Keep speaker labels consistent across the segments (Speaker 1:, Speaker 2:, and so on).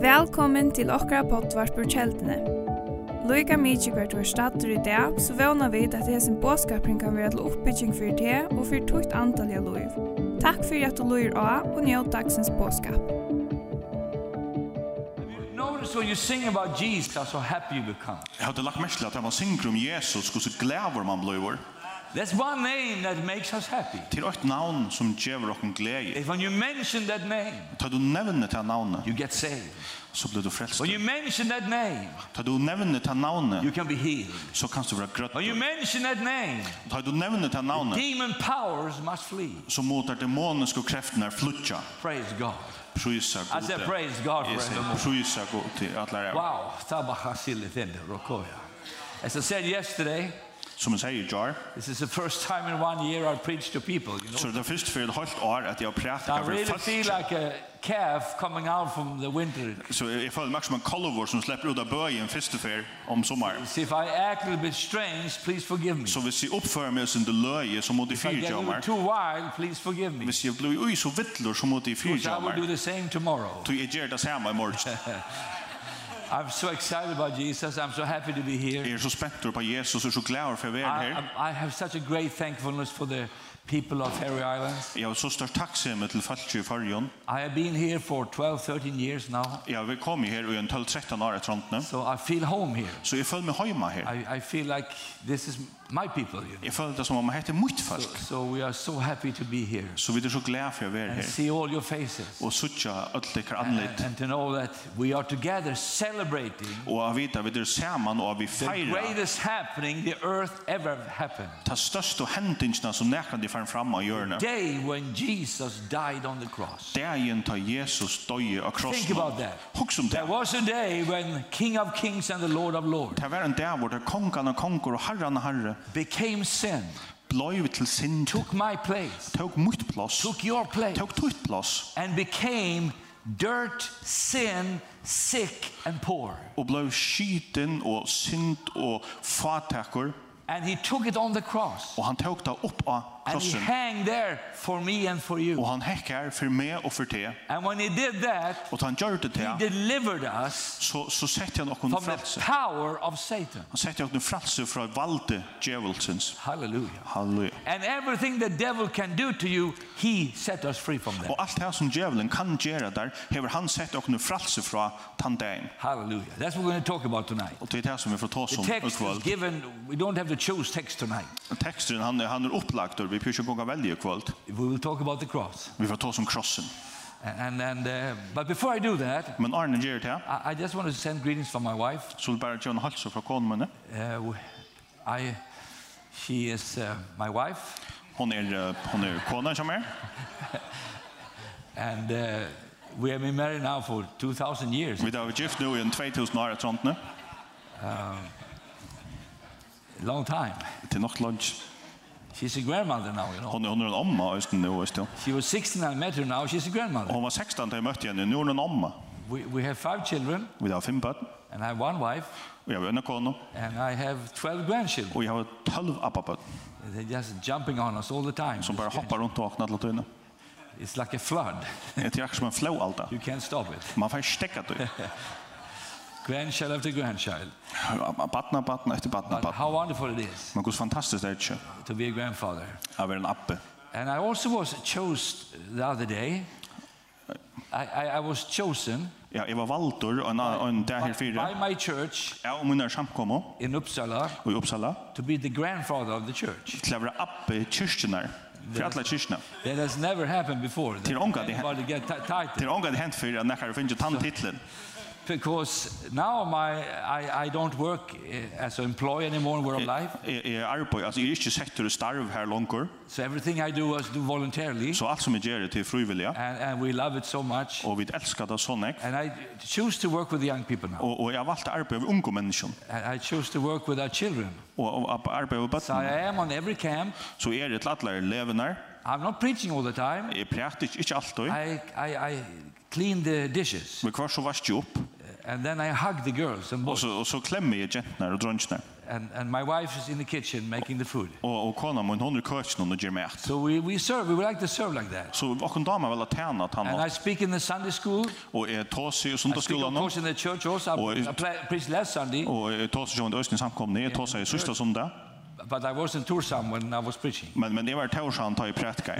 Speaker 1: Velkommen til okkara poddvarp ur kjeldene. Loika mykje hvert du er stater i dag, så vana vi at hesen båskapring kan være til oppbygging fyrir te og fyrir tukt antalliga loiv. Takk fyrir at du loir av og njød dagsens båskap.
Speaker 2: Notice when you sing about Jesus, how happy you become.
Speaker 3: Jag hade lagt mest till att han var synger om Jesus och så gläver man blöjor.
Speaker 2: There's one name that makes us happy.
Speaker 3: Till ett namn er som ger och en glädje.
Speaker 2: If when you mention that name,
Speaker 3: Tar du nämnet till namnet
Speaker 2: you get saved.
Speaker 3: så blir du frälst.
Speaker 2: When you mention that name,
Speaker 3: Tar du nämnet till
Speaker 2: you
Speaker 3: namnet
Speaker 2: can be healed.
Speaker 3: så kan du vara grött.
Speaker 2: When you mention that name,
Speaker 3: Tar du nämnet till namnet
Speaker 2: demon powers must flee.
Speaker 3: så motar demoniska krafterna flutcha.
Speaker 2: Praise God.
Speaker 3: Prisa
Speaker 2: I said
Speaker 3: gode.
Speaker 2: praise God
Speaker 3: Jag
Speaker 2: for
Speaker 3: säger
Speaker 2: evermore.
Speaker 3: prisa gode till alla er.
Speaker 2: Wow. Tabaha silitende rokoya. As I said yesterday,
Speaker 3: Som jag säger Jar.
Speaker 2: this is the first time in one year I preach to people, you know.
Speaker 3: Så er det är först för ett halvt år att jag
Speaker 2: I
Speaker 3: pratar
Speaker 2: really
Speaker 3: för
Speaker 2: feel
Speaker 3: folk.
Speaker 2: like a calf coming out from the winter
Speaker 3: Så jag följer mig som en kolvor som släpper ut av böjen först för om sommar.
Speaker 2: See, if I act a little bit strange, please forgive me.
Speaker 3: Så hvis jeg oppfører meg som det løye, så må de
Speaker 2: if I
Speaker 3: fyrtja
Speaker 2: get a
Speaker 3: om
Speaker 2: little too wild, please forgive me.
Speaker 3: Hvis jeg blir ui så vittler, så må de
Speaker 2: Because
Speaker 3: fyrtja
Speaker 2: I
Speaker 3: om
Speaker 2: will do
Speaker 3: meg.
Speaker 2: the same tomorrow.
Speaker 3: Så jeg gjør det samme i morgen.
Speaker 2: I'm so excited about Jesus. I'm so happy to be here.
Speaker 3: Jeg er så spent på Jesus, og så glad for å være
Speaker 2: I,
Speaker 3: her.
Speaker 2: I, I have such a great thankfulness for the people of Ferry Islands.
Speaker 3: Jeg har så størst takksomme til folk i fargen.
Speaker 2: I have been here for 12, 13 years now,
Speaker 3: Jeg har kommet her i en 12-13 år etter håndene.
Speaker 2: so I feel home here.
Speaker 3: Så jeg føler meg hjemme her.
Speaker 2: I, I feel like this is my people. You know?
Speaker 3: Jeg føler det som om jeg heter mitt folk.
Speaker 2: So we are so happy to be here
Speaker 3: Så vi er så glad for å være
Speaker 2: and
Speaker 3: her.
Speaker 2: see all your faces
Speaker 3: Og suttja alt det kan
Speaker 2: and,
Speaker 3: anlitt.
Speaker 2: and to know that we are together celebrating
Speaker 3: Og jeg vet at vi er sammen, og vi
Speaker 2: The
Speaker 3: feirer
Speaker 2: greatest happening the earth ever happened.
Speaker 3: de største hendingene som nekker de fann fram av hjørnet.
Speaker 2: Day when Jesus died on the cross.
Speaker 3: Dagen tar er Jesus døye av krossen.
Speaker 2: Think about that.
Speaker 3: Hugs om det.
Speaker 2: There was a day when King of Kings and the Lord of Lords
Speaker 3: Det var en dag hvor det er kongan og konger og herran og herre
Speaker 2: became sin,
Speaker 3: blei til synd,
Speaker 2: took my place,
Speaker 3: tåg mitt plass,
Speaker 2: took your place,
Speaker 3: tåg tutt plass
Speaker 2: and became dirt, sin, sick, and poor.
Speaker 3: og blei skiten og synd og fatakor
Speaker 2: And he took it on the cross.
Speaker 3: og han tåg det opp av
Speaker 2: And he
Speaker 3: krossen
Speaker 2: hang there for me and for
Speaker 3: og
Speaker 2: you.
Speaker 3: han hekk her for meg og for te
Speaker 2: And when he did that,
Speaker 3: og da han gjør det
Speaker 2: he
Speaker 3: til
Speaker 2: delivered us
Speaker 3: så, så sette han noen
Speaker 2: from the
Speaker 3: fralse
Speaker 2: power of Satan.
Speaker 3: han sette han noen fralse fra valde djevelsens
Speaker 2: Hallelujah.
Speaker 3: halleluja
Speaker 2: And everything the devil can do to you, he set us free from that.
Speaker 3: og alt det som djevelen kan gjøre der hever han sett noen fralse fra tandein
Speaker 2: Hallelujah. That's what we're going to talk about tonight.
Speaker 3: og det er det som vi får ta
Speaker 2: The
Speaker 3: som
Speaker 2: text is
Speaker 3: utkvalt
Speaker 2: given, we don't have to choose text tonight.
Speaker 3: teksten han, han er opplagt og vi pjør ikke å velge kvalt
Speaker 2: We will talk about the cross.
Speaker 3: Vi får ta som krossen.
Speaker 2: And, and, uh, but before I do that,
Speaker 3: Men Arne gjør det her.
Speaker 2: I, I just want to send greetings from my wife.
Speaker 3: Så vil bare gjøre en halse fra konen minne.
Speaker 2: Uh, w- I, she is uh, my wife,
Speaker 3: Hon er, eh, hon er konen som er.
Speaker 2: and uh, we have been married now for 2,000 years.
Speaker 3: Vi har vært gift nå i en 2000 år etter håndene.
Speaker 2: Long time.
Speaker 3: Til nok lunch.
Speaker 2: She's a grandmother now, you know.
Speaker 3: Hon er, hon er en omma østen nå østen.
Speaker 2: She was 16 when I met her, now she's a grandmother.
Speaker 3: Hon var 16 da jeg møtte henne. Nå er hun en omma.
Speaker 2: We, we have five children,
Speaker 3: Vi har fem bøtten.
Speaker 2: and I have one wife.
Speaker 3: Og jeg har en kone.
Speaker 2: And I have 12 grandchildren.
Speaker 3: Og jeg har 12 appabøtten.
Speaker 2: They're just jumping on us all the time.
Speaker 3: Som bare hoppar rundt og åkner til tøyne.
Speaker 2: It's like a flood.
Speaker 3: Jeg trekker som en flow alt det.
Speaker 2: You can't stop it.
Speaker 3: Man får stekka det.
Speaker 2: Grandchild after grandchild.
Speaker 3: Battna, battna, er etter battna,
Speaker 2: But
Speaker 3: battna.
Speaker 2: how wonderful it is
Speaker 3: Men hvordan fantastisk det er ikke
Speaker 2: to be a grandfather.
Speaker 3: å være en appe.
Speaker 2: And I also was chose the other day. I, I, I was chosen
Speaker 3: Ja, jeg var valgtor og en, og en dag her fire.
Speaker 2: by my church
Speaker 3: Jeg og min er samkommet
Speaker 2: in Uppsala
Speaker 3: og i Uppsala.
Speaker 2: to be the grandfather of the church.
Speaker 3: til å være oppe i kyrkjenar, for alle kyrkjenar.
Speaker 2: That has never happened before.
Speaker 3: Till ångan, det-
Speaker 2: Anybody get that
Speaker 3: Det
Speaker 2: title.
Speaker 3: er ångan det hent for at nekkar finnes jo tanntitlen.
Speaker 2: Because now my, I, I don't work eh, as an employee anymore in World Life.
Speaker 3: Jeg jeg er arbeid, altså jeg er ikke sektor i starv her langer,
Speaker 2: So everything I do is do voluntarily,
Speaker 3: så alt som jeg gjør er til frivilliga,
Speaker 2: and, and we love it so much.
Speaker 3: og vi elskar det sånn ek.
Speaker 2: And I choose to work with the young people now.
Speaker 3: Og, og jeg har valgt arbeid over unge mennesker,
Speaker 2: And I choose to work with our children.
Speaker 3: og, og ab- arbeid over
Speaker 2: So I
Speaker 3: bøttene.
Speaker 2: am on every camp.
Speaker 3: Så jeg er til alle levenar,
Speaker 2: I'm not preaching all the time.
Speaker 3: jeg præter ikke, ikke alt og
Speaker 2: I, I, I clean the dishes,
Speaker 3: Men hver så varst jeg opp,
Speaker 2: and then I hug the girls and
Speaker 3: og
Speaker 2: boys.
Speaker 3: så, og så klemmer jeg jentnar og drønsnar.
Speaker 2: and, and my wife is in the kitchen making the food.
Speaker 3: Og, og kona min, hon er i køkken og gjør mat.
Speaker 2: So we, we serve, we would like to serve like that.
Speaker 3: Så åkken damer vil ha tjene at han
Speaker 2: And I
Speaker 3: har.
Speaker 2: speak in the Sunday school.
Speaker 3: Og jeg tar seg
Speaker 2: I speak,
Speaker 3: i
Speaker 2: of
Speaker 3: sundagsskolen nå.
Speaker 2: course, in the church also.
Speaker 3: Och-
Speaker 2: I, I pla- preached last Sunday,
Speaker 3: Og eh, jeg tar seg i østens er samkomne. Jeg tar seg i søster sundag.
Speaker 2: but I was in Tursam when I was preaching.
Speaker 3: Men, men jeg var i Torsan tar i prætkar.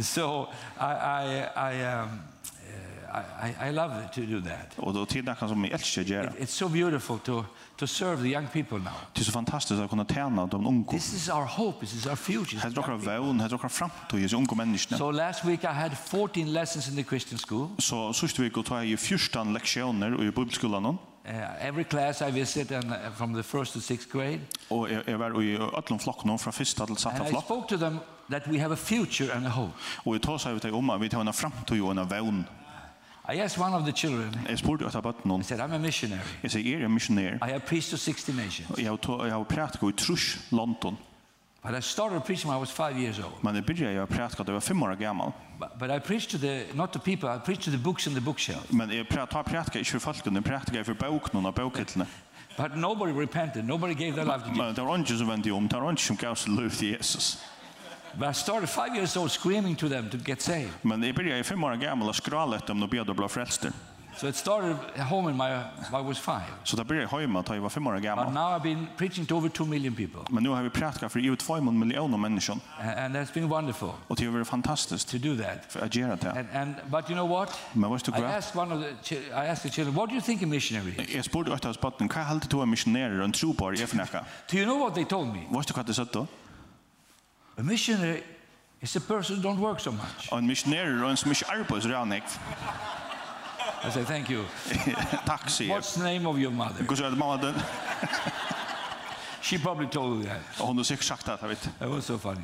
Speaker 2: So I, I, I, um, uh, I, I I love to do that.
Speaker 3: Og det er tid nekka som jeg elsker å gjøre.
Speaker 2: It's so beautiful to, to serve the young people now.
Speaker 3: Det er så fantastisk å kunne tjene de unge.
Speaker 2: This is our hope. This is our future.
Speaker 3: Her er dere vevn, her er dere framtid, disse unge menneskene.
Speaker 2: So last week I had 14 lessons in the Christian school.
Speaker 3: Så sørste vi går ta i 14 leksjoner i bibelskolen.
Speaker 2: Uh, every class I visit and, uh, from the first to sixth grade.
Speaker 3: Og jeg, jeg var i ødlom flokk nå, fra første til
Speaker 2: And
Speaker 3: satte
Speaker 2: I
Speaker 3: flokk.
Speaker 2: spoke to them that we have a future and a hope.
Speaker 3: Og jeg tar seg ut om at vi tar en framtid og en vevn.
Speaker 2: I asked one of the children,
Speaker 3: Jeg spurte etter bøtten
Speaker 2: I
Speaker 3: hon.
Speaker 2: said, I'm a missionary.
Speaker 3: Jeg sier, jeg er missionær.
Speaker 2: I have preached to 60 nations.
Speaker 3: Og Jeg har, ta- jeg har prætket i Trus, London.
Speaker 2: But I started preaching when I was five years old.
Speaker 3: Men jeg begynte jeg å prætke da jeg var fem år gammel.
Speaker 2: But, but I preached to the, not to people, I preached to the books in the bookshelf.
Speaker 3: Men jeg præ- tar prætke ikke for folkene, jeg prætke for bøkene og bøkhettlene.
Speaker 2: But nobody repented. Nobody gave their life to Jesus.
Speaker 3: Men det var ikke som vendte om, det var ikke som gav seg løp til Jesus.
Speaker 2: But I started five years old screaming to them to get saved.
Speaker 3: Men jeg började i fem år gammal och skrala efter dem och bjöd och blev frälster.
Speaker 2: So it started at home in my, I was five.
Speaker 3: Så det började jag hemma att jag var fem år
Speaker 2: But
Speaker 3: gammal.
Speaker 2: now I've been preaching to over two million people.
Speaker 3: Men nu har vi pratat för över 2 miljoner människor
Speaker 2: And, and that's been wonderful
Speaker 3: och det har varit fantastiskt
Speaker 2: to do that.
Speaker 3: för att göra det.
Speaker 2: And, and, but you know what?
Speaker 3: Men vad stod
Speaker 2: I
Speaker 3: det?
Speaker 2: asked one of the, chi- I asked the children, what do you think a missionary is?
Speaker 3: Jag spurgade åt hans botten, vad hade du en missionärer och en trobar i FNK?
Speaker 2: Do you know what they told me?
Speaker 3: Vad du vad det satt då?
Speaker 2: A missionary is a person who don't work so much.
Speaker 3: En missionärer och en som inte arbetsrannig.
Speaker 2: I said, thank you.
Speaker 3: Tack säger jag.
Speaker 2: What's the name of your mother?
Speaker 3: Går så att er mamma den
Speaker 2: She probably told you that.
Speaker 3: och hon har säkert sagt det, jag vet.
Speaker 2: That was so funny.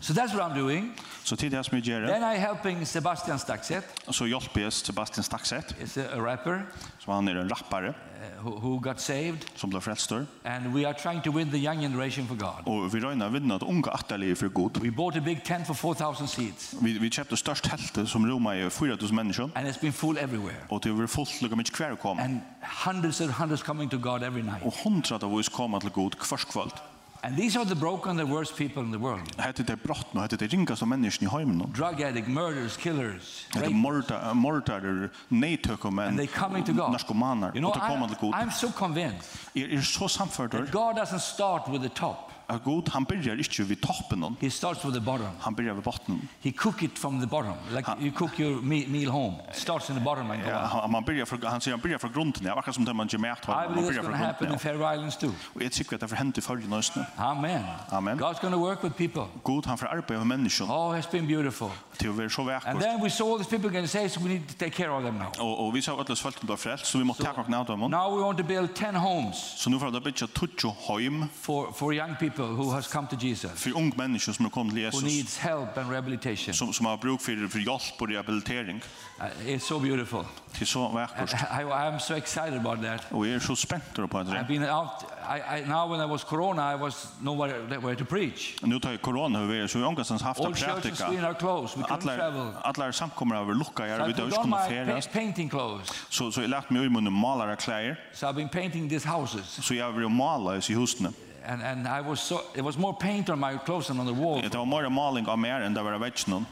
Speaker 2: So that's what I'm doing.
Speaker 3: Så till det som jag gör
Speaker 2: Then I'm helping Sebastian Staxet.
Speaker 3: så hjälper jag Sebastian Staxet
Speaker 2: He's a, a rapper
Speaker 3: som han är en rappare
Speaker 2: uh, who, who got saved.
Speaker 3: som blev frälster.
Speaker 2: And we are trying to win the young generation for God.
Speaker 3: Och vi röjnar vinna att unga atterliv för er god.
Speaker 2: We bought a big tent for 4,000 seats.
Speaker 3: Vi vi köpte störst tält som Roma är 4000 människor
Speaker 2: And it's been full everywhere.
Speaker 3: och det var fullt lika mycket kvar kom.
Speaker 2: And hundreds and hundreds coming to God every night.
Speaker 3: Och hundrade av oss kom till god kvarskvalt.
Speaker 2: And these are the broken, the worst people in the world.
Speaker 3: Hette det brott nu, hette det ringa som människan i hemmen.
Speaker 2: Drug addict, murderers, killers.
Speaker 3: Hette
Speaker 2: rape-
Speaker 3: morda mordarer, nejtökumän,
Speaker 2: And they coming to God.
Speaker 3: narkomaner.
Speaker 2: You know,
Speaker 3: och det kom
Speaker 2: I,
Speaker 3: till god.
Speaker 2: I'm so convinced
Speaker 3: Er er så samförder
Speaker 2: that God doesn't start with the top.
Speaker 3: att god han börjar inte vid toppen någon.
Speaker 2: He starts with the bottom.
Speaker 3: Han börjar vid botten.
Speaker 2: He cook it from the bottom, like you cook your me- meal home. It starts in the bottom and go
Speaker 3: Ja,
Speaker 2: up.
Speaker 3: han, man börjar från han säger han börjar från grunden. Jag verkar som det man gemärt har.
Speaker 2: I
Speaker 3: Man
Speaker 2: believe it's
Speaker 3: börjar
Speaker 2: going to
Speaker 3: från
Speaker 2: happen in
Speaker 3: grunden.
Speaker 2: Faroe Islands too.
Speaker 3: Och jag tycker att det har hänt i förrige nästan.
Speaker 2: Amen.
Speaker 3: Amen.
Speaker 2: God's going to work with people.
Speaker 3: God han får arbeta med människan
Speaker 2: Oh, it's been beautiful.
Speaker 3: till att vara så
Speaker 2: And
Speaker 3: vackert.
Speaker 2: then we saw all these people getting saved, so we need to take care of them now.
Speaker 3: Og, og vi sa öllus folk til frelst, så vi måtte taka okna av dem.
Speaker 2: Now we want to build 10 homes
Speaker 3: Så nu får det bytja tutjo heim
Speaker 2: for, for young people who has come to Jesus,
Speaker 3: for ung mennesker som har kommet til
Speaker 2: who
Speaker 3: Jesus,
Speaker 2: needs help and rehabilitation.
Speaker 3: som, som har bruk for, for hjelp og rehabilitering.
Speaker 2: Uh, it's so beautiful.
Speaker 3: Til så vakkert.
Speaker 2: I, I, am so excited about that.
Speaker 3: Og jeg er så spent på
Speaker 2: I've
Speaker 3: det.
Speaker 2: been out. I, I, now when I was corona, I was nowhere where to preach.
Speaker 3: Nu tar jeg korona over så vi har ångestens haft
Speaker 2: All
Speaker 3: att
Speaker 2: churches in Sweden
Speaker 3: prætika.
Speaker 2: are closed. We couldn't travel.
Speaker 3: Allar, allar samkommer har vært lukka her,
Speaker 2: So I
Speaker 3: vi
Speaker 2: put
Speaker 3: har ikke
Speaker 2: on
Speaker 3: kunnet
Speaker 2: my pa-
Speaker 3: ferast.
Speaker 2: painting clothes.
Speaker 3: Så, så jeg lagt meg i munnen malare klær,
Speaker 2: So I've been painting these houses,
Speaker 3: så jeg har vært mala i husene.
Speaker 2: and and I was so it was more paint on my clothes than on the wall.
Speaker 3: Det var mer maling av mer enn det var vetsjonen.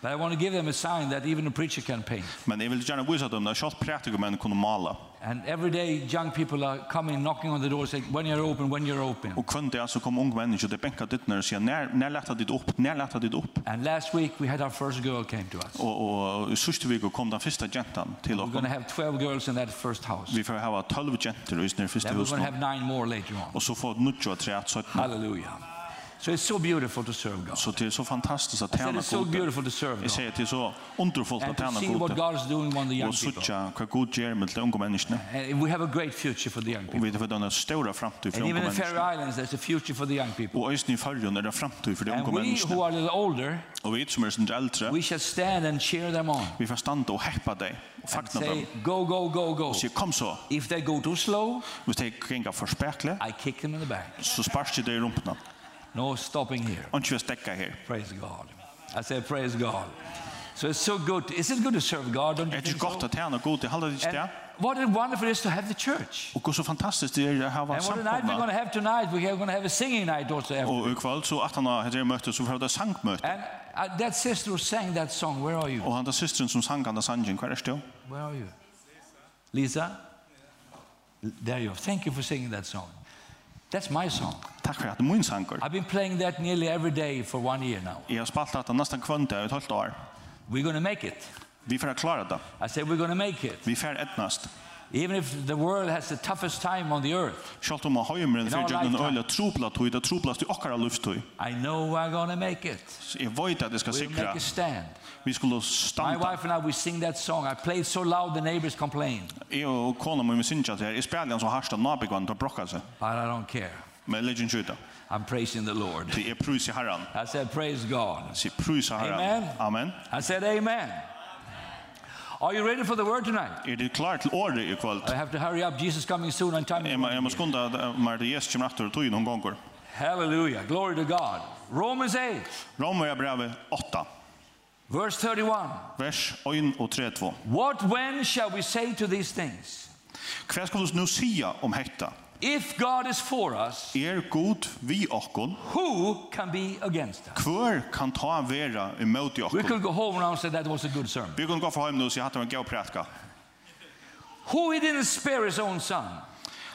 Speaker 2: But I want to give them a sign that even a preacher can paint.
Speaker 3: Men jeg vil gjerne vise dem, det er kjallt prætikumenn kunne mala.
Speaker 2: And every day, young people are coming, knocking on the door, saying, "When you're open, when you're open."
Speaker 3: Og kvann det så kom ung mennesker til benka ditt når og sier, nær, nær lette ditt opp, nær lette ditt opp.
Speaker 2: And last week we had our first girl came to us.
Speaker 3: Og, og i sørste vik kom den første gentan til
Speaker 2: We're going
Speaker 3: oss.
Speaker 2: to have 12 girls in that first house.
Speaker 3: Vi får hava 12 genter i den første
Speaker 2: Then we're going to
Speaker 3: husen.
Speaker 2: have nine more later on.
Speaker 3: Og så få nudja og treat søttene.
Speaker 2: Hallelujah. So it's so beautiful to serve God.
Speaker 3: Så det er så fantastisk at
Speaker 2: That
Speaker 3: tæna
Speaker 2: is so
Speaker 3: gode.
Speaker 2: beautiful to serve
Speaker 3: Jeg
Speaker 2: God.
Speaker 3: sier at det er så underfullt
Speaker 2: And
Speaker 3: at
Speaker 2: to
Speaker 3: tæna
Speaker 2: see what
Speaker 3: gode.
Speaker 2: God is doing on the young
Speaker 3: Og
Speaker 2: people.
Speaker 3: suttja hva god gjør med de unge menneskene.
Speaker 2: And we have a great future for the young
Speaker 3: Og
Speaker 2: people.
Speaker 3: vi får denne store framtid for
Speaker 2: And
Speaker 3: unge
Speaker 2: even in Faroe
Speaker 3: menneskene.
Speaker 2: Islands, there's a future for the young people.
Speaker 3: Og øyne i fargen er det framtid for de
Speaker 2: And
Speaker 3: unge
Speaker 2: we who
Speaker 3: menneskene.
Speaker 2: are a little older,
Speaker 3: Og vi som er sånn eldre,
Speaker 2: we shall stand and cheer them on.
Speaker 3: vi får standa og heppa deg. Og
Speaker 2: And
Speaker 3: fagna dem.
Speaker 2: say, go, go, go, go.
Speaker 3: Og sier, kom så.
Speaker 2: If they go too slow,
Speaker 3: Hvis de gjengar for spekle,
Speaker 2: I kick them in the back.
Speaker 3: så sparst jeg det i rumpene.
Speaker 2: No stopping here.
Speaker 3: Og ikke vi stekker her.
Speaker 2: Praise God. I say, praise God. So it's so good. Is it good to serve God? Don't you
Speaker 3: Er det
Speaker 2: think
Speaker 3: ikke godt
Speaker 2: so?
Speaker 3: at tjene god? Jeg holder det ikke
Speaker 2: And
Speaker 3: det.
Speaker 2: what a wonderful it is to have the church.
Speaker 3: Og så fantastisk det er å ha
Speaker 2: And what a night we're going
Speaker 3: samkomna.
Speaker 2: to have tonight. We're going to have a singing night also. Ever.
Speaker 3: Og i kvall så at han har det møte, så får det sangmøte.
Speaker 2: And uh, that sister who sang that song, where are you?
Speaker 3: Og han der systeren som sang han der sangen, hva er det?
Speaker 2: Where are you? Lisa? L- There you are. Thank you for singing that song. That's my song.
Speaker 3: Takk for at det er min sanger.
Speaker 2: I've been playing that nearly every day for one year now.
Speaker 3: Jeg har spalt at det nesten kvønte et halvt år.
Speaker 2: We're going to make it.
Speaker 3: Vi får klare det.
Speaker 2: I said, we're going to make it.
Speaker 3: Vi får etnast.
Speaker 2: Even if the world has the toughest time on the earth,
Speaker 3: Sjalt om høymeren
Speaker 2: No,
Speaker 3: for
Speaker 2: lifetime.
Speaker 3: djøgnen øyla trupla tog, det truplas til okkara luftøy.
Speaker 2: I know we're going to make it.
Speaker 3: Så Jeg vet at jeg skal
Speaker 2: We'll
Speaker 3: sikra.
Speaker 2: make a stand.
Speaker 3: Vi skulle
Speaker 2: My
Speaker 3: standa.
Speaker 2: wife and I, we sing that song. I played so loud the neighbors complained.
Speaker 3: Jeg og kona må vi synge at her. Jeg spiller han så harst av nabikvann til å brokka seg.
Speaker 2: But I don't care.
Speaker 3: Men legend skjuta.
Speaker 2: I'm praising the Lord.
Speaker 3: Det er prus i herran.
Speaker 2: I said, praise God.
Speaker 3: Jeg sier prus i herran.
Speaker 2: Amen.
Speaker 3: Amen.
Speaker 2: I said, amen. Are you ready for the word tonight?
Speaker 3: Er du klar til året i kvöld?
Speaker 2: I have to hurry up. Jesus coming soon on time.
Speaker 3: Jeg må, jeg må skunda at Marta Jesus kommer etter og tog noen gonger.
Speaker 2: Hallelujah. Glory to God. Romans 8,
Speaker 3: Romer er brevet 8,
Speaker 2: verse 31.
Speaker 3: vers 1 og 3-2.
Speaker 2: What when shall we say to these things?
Speaker 3: Hva skal du nå sia om hetta?
Speaker 2: If God is for us,
Speaker 3: Er god vi okkon?
Speaker 2: who can be against us?
Speaker 3: Kvør kan ta vera imot i
Speaker 2: We
Speaker 3: okkon?
Speaker 2: could go home now and say that was a good sermon.
Speaker 3: Vi kan gå fra heim nu og si at det var en gav prætka.
Speaker 2: Who he didn't spare his own son,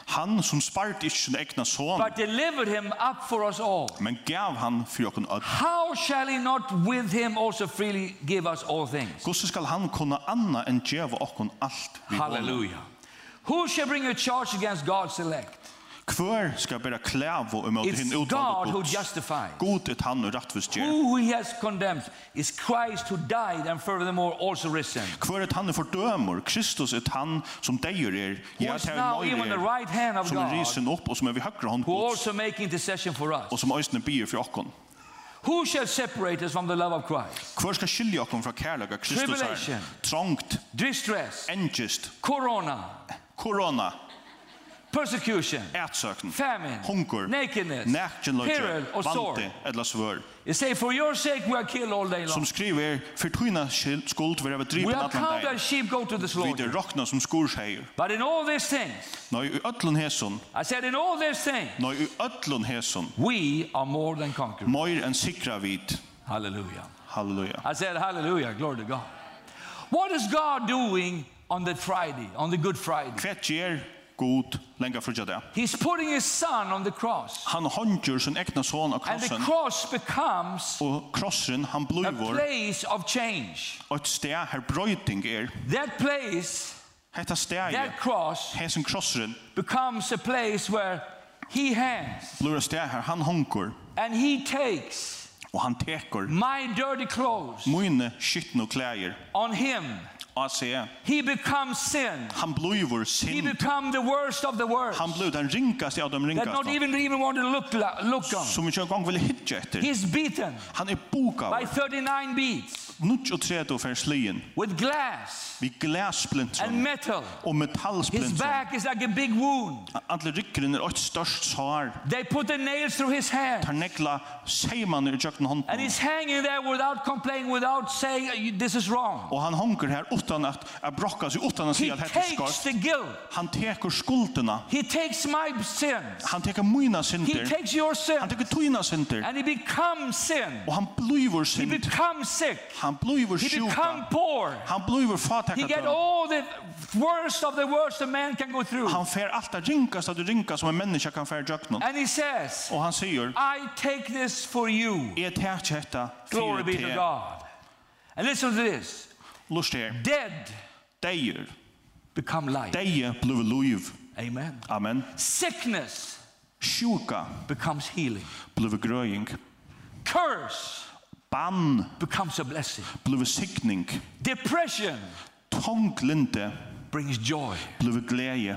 Speaker 3: Han som spart ikke sin egna son,
Speaker 2: but delivered him up for us all.
Speaker 3: men gav han for okkon öll.
Speaker 2: How shall he not with him also freely give us all things?
Speaker 3: Hvordan skal han kunne anna enn djeva okkon alt vi
Speaker 2: Hallelujah. Who shall bring a charge against God's elect?
Speaker 3: Kvør skal bæra klævo imot
Speaker 2: It's
Speaker 3: hinn
Speaker 2: God
Speaker 3: utvalgte
Speaker 2: who
Speaker 3: gods.
Speaker 2: justifies.
Speaker 3: God er han og rettvis djer.
Speaker 2: Who he has condemned is Christ who died and furthermore also risen.
Speaker 3: Kvør er han er fordømer. Kristus er han som deir er.
Speaker 2: Who
Speaker 3: Ja,
Speaker 2: is
Speaker 3: det er
Speaker 2: now
Speaker 3: møyre
Speaker 2: even the
Speaker 3: er,
Speaker 2: right hand of
Speaker 3: Som er
Speaker 2: God.
Speaker 3: risen opp og som er vi høyre hånd
Speaker 2: Who
Speaker 3: gods.
Speaker 2: also make intercession for us.
Speaker 3: Og som øysene bier for okkon.
Speaker 2: Who shall separate us from the love of Christ?
Speaker 3: Kvør skal skilja okkon fra kærlega Kristus
Speaker 2: Tribulation.
Speaker 3: er. Trångt,
Speaker 2: Distress,
Speaker 3: engest,
Speaker 2: corona,
Speaker 3: korona,
Speaker 2: persecution,
Speaker 3: ætsøkn,
Speaker 2: famine,
Speaker 3: hungur,
Speaker 2: nakedness,
Speaker 3: nækjenløgje,
Speaker 2: peril og
Speaker 3: vante
Speaker 2: sorg.
Speaker 3: eller svør.
Speaker 2: It say, for your sake we are killed all day long.
Speaker 3: Som skriver, for tøyna skuld vi er
Speaker 2: We
Speaker 3: driven
Speaker 2: are
Speaker 3: allan
Speaker 2: counted
Speaker 3: dag.
Speaker 2: as sheep go to the
Speaker 3: Vi er
Speaker 2: slaughter.
Speaker 3: rokna som skursheier.
Speaker 2: But in all these things,
Speaker 3: Nei, i öllun hesson,
Speaker 2: I said, in all these things,
Speaker 3: nei, i öllun hesson,
Speaker 2: we are more than conquerors.
Speaker 3: Møyr enn sikra vid.
Speaker 2: Hallelujah.
Speaker 3: Halleluja.
Speaker 2: I said, Hallelujah, glory to God. What is God doing on the Friday, on the Good Friday?
Speaker 3: Hva gjer god lenga frugja det?
Speaker 2: He's putting his son on the cross.
Speaker 3: Han håndgjør sin egna son av
Speaker 2: And the
Speaker 3: krossen,
Speaker 2: cross becomes
Speaker 3: og krossen han
Speaker 2: a
Speaker 3: bløyvor,
Speaker 2: place of change.
Speaker 3: og et steg her brøyting er.
Speaker 2: That place,
Speaker 3: Hetta
Speaker 2: that
Speaker 3: steget,
Speaker 2: cross,
Speaker 3: hesen krossen,
Speaker 2: becomes a place where he hands
Speaker 3: bløyra steg her, han håndgjør,
Speaker 2: and he takes
Speaker 3: og han teker
Speaker 2: my dirty clothes
Speaker 3: mine skytten og klæger,
Speaker 2: on him.
Speaker 3: og se,
Speaker 2: He becomes sin.
Speaker 3: han bløyvor
Speaker 2: He
Speaker 3: sin,
Speaker 2: becomes the worst of the worst
Speaker 3: han bløy den ringaste av dem
Speaker 2: that not
Speaker 3: ringaste,
Speaker 2: even even want to look, la- look on.
Speaker 3: som vi ikke engang ville hitje etter.
Speaker 2: He's beaten
Speaker 3: Han er boka,
Speaker 2: by 39 beats
Speaker 3: nutj og tredje og ferslien,
Speaker 2: with glass
Speaker 3: vi glæsplintron,
Speaker 2: and metal.
Speaker 3: og
Speaker 2: His
Speaker 3: metallsplint.
Speaker 2: back is like a big wound.
Speaker 3: Alle rykkeren er et størst sår.
Speaker 2: They put the nails through his hand.
Speaker 3: Tar nekla seimann i tjøkken
Speaker 2: And
Speaker 3: hånden.
Speaker 2: he's hanging there without complaining, without saying, "You- this is wrong.
Speaker 3: Og han honker her utan at jeg brokka seg, utan at
Speaker 2: He
Speaker 3: sier at hette
Speaker 2: takes
Speaker 3: skarst.
Speaker 2: the guilt.
Speaker 3: Han teker skuldena.
Speaker 2: He takes my sins.
Speaker 3: Han teker mina
Speaker 2: He
Speaker 3: synder.
Speaker 2: takes your
Speaker 3: Han
Speaker 2: sin.
Speaker 3: teker tuina synder.
Speaker 2: And he becomes sin.
Speaker 3: Og han blivur
Speaker 2: He
Speaker 3: synd.
Speaker 2: becomes sick.
Speaker 3: Han blivur
Speaker 2: He becomes
Speaker 3: sjuka.
Speaker 2: poor.
Speaker 3: Han blivur
Speaker 2: He get
Speaker 3: fatakadøm.
Speaker 2: all the worst of the worst a man can go through.
Speaker 3: Han fer alt det rinkast av det rinkast som en menneske kan fer i tjøkken.
Speaker 2: And he says,
Speaker 3: Og han sier,
Speaker 2: I take this for you.
Speaker 3: jeg teker hette
Speaker 2: Glory
Speaker 3: fyrir
Speaker 2: be to
Speaker 3: te.
Speaker 2: God. And listen to this.
Speaker 3: Lust her.
Speaker 2: Dead
Speaker 3: Deir.
Speaker 2: become life.
Speaker 3: Deir blivur luiv.
Speaker 2: Amen.
Speaker 3: Amen.
Speaker 2: Sickness
Speaker 3: Sjuka
Speaker 2: becomes healing.
Speaker 3: blivur grøying.
Speaker 2: Curse
Speaker 3: Bann
Speaker 2: becomes a blessing.
Speaker 3: blivur sikning.
Speaker 2: Depression
Speaker 3: Tonglinte
Speaker 2: brings joy.
Speaker 3: blivur gleie.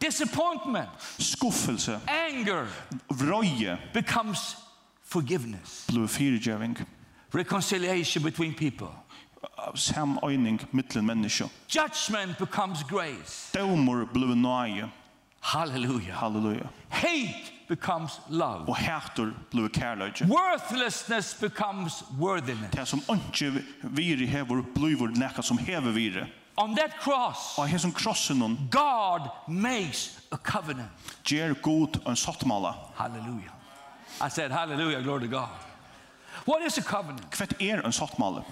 Speaker 2: Disappointment,
Speaker 3: Skuffelse,
Speaker 2: anger
Speaker 3: vrøye
Speaker 2: becomes forgiveness.
Speaker 3: blivur fyrirgjøving.
Speaker 2: Reconciliation between people.
Speaker 3: Samøyning mittlen menneske.
Speaker 2: Judgment becomes grace.
Speaker 3: Dømur blivur nøye.
Speaker 2: Hallelujah.
Speaker 3: Halleluja.
Speaker 2: Hate becomes love.
Speaker 3: Og hætur blivur kærløyge.
Speaker 2: Worthlessness becomes worthiness.
Speaker 3: Det som ikke viri hevur blivur nekka som hever viri.
Speaker 2: On that cross,
Speaker 3: Og hesson krossen
Speaker 2: God makes a covenant.
Speaker 3: ger god en sottmala.
Speaker 2: Hallelujah. I said, Hallelujah, glory to God. What is a covenant?
Speaker 3: Kvett er en sottmala?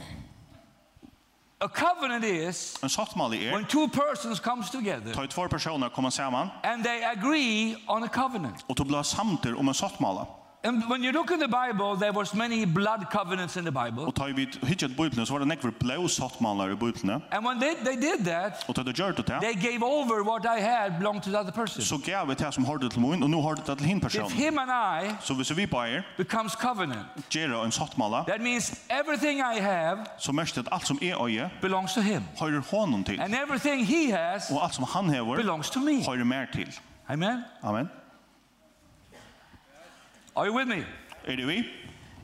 Speaker 2: A covenant is
Speaker 3: En sottmala er
Speaker 2: when two persons comes together
Speaker 3: ta i två personer komma samman
Speaker 2: and they agree on a covenant.
Speaker 3: och to um blir samter om en sottmala.
Speaker 2: And when you look in the Bible, there was many blood covenants in the Bible.
Speaker 3: Och ta i vid hittat bibeln så var det nekver blå sottmalar i bibeln.
Speaker 2: And when they, they did that,
Speaker 3: Och ta det gjort det.
Speaker 2: they gave over what I had belonged to the other person.
Speaker 3: Så gav vi det som hörde till mun och nu hörde det till hin
Speaker 2: If
Speaker 3: person.
Speaker 2: him and I
Speaker 3: Så hvis vi bare
Speaker 2: becomes covenant,
Speaker 3: ger en sottmala
Speaker 2: that means everything I have
Speaker 3: så mest att allt som är öje
Speaker 2: belongs to him.
Speaker 3: høyrer honom til.
Speaker 2: And everything he has
Speaker 3: Og alt som han hever
Speaker 2: belongs to me.
Speaker 3: høyrer mer til.
Speaker 2: Amen.
Speaker 3: Amen.
Speaker 2: Are you with me?
Speaker 3: Er det vi?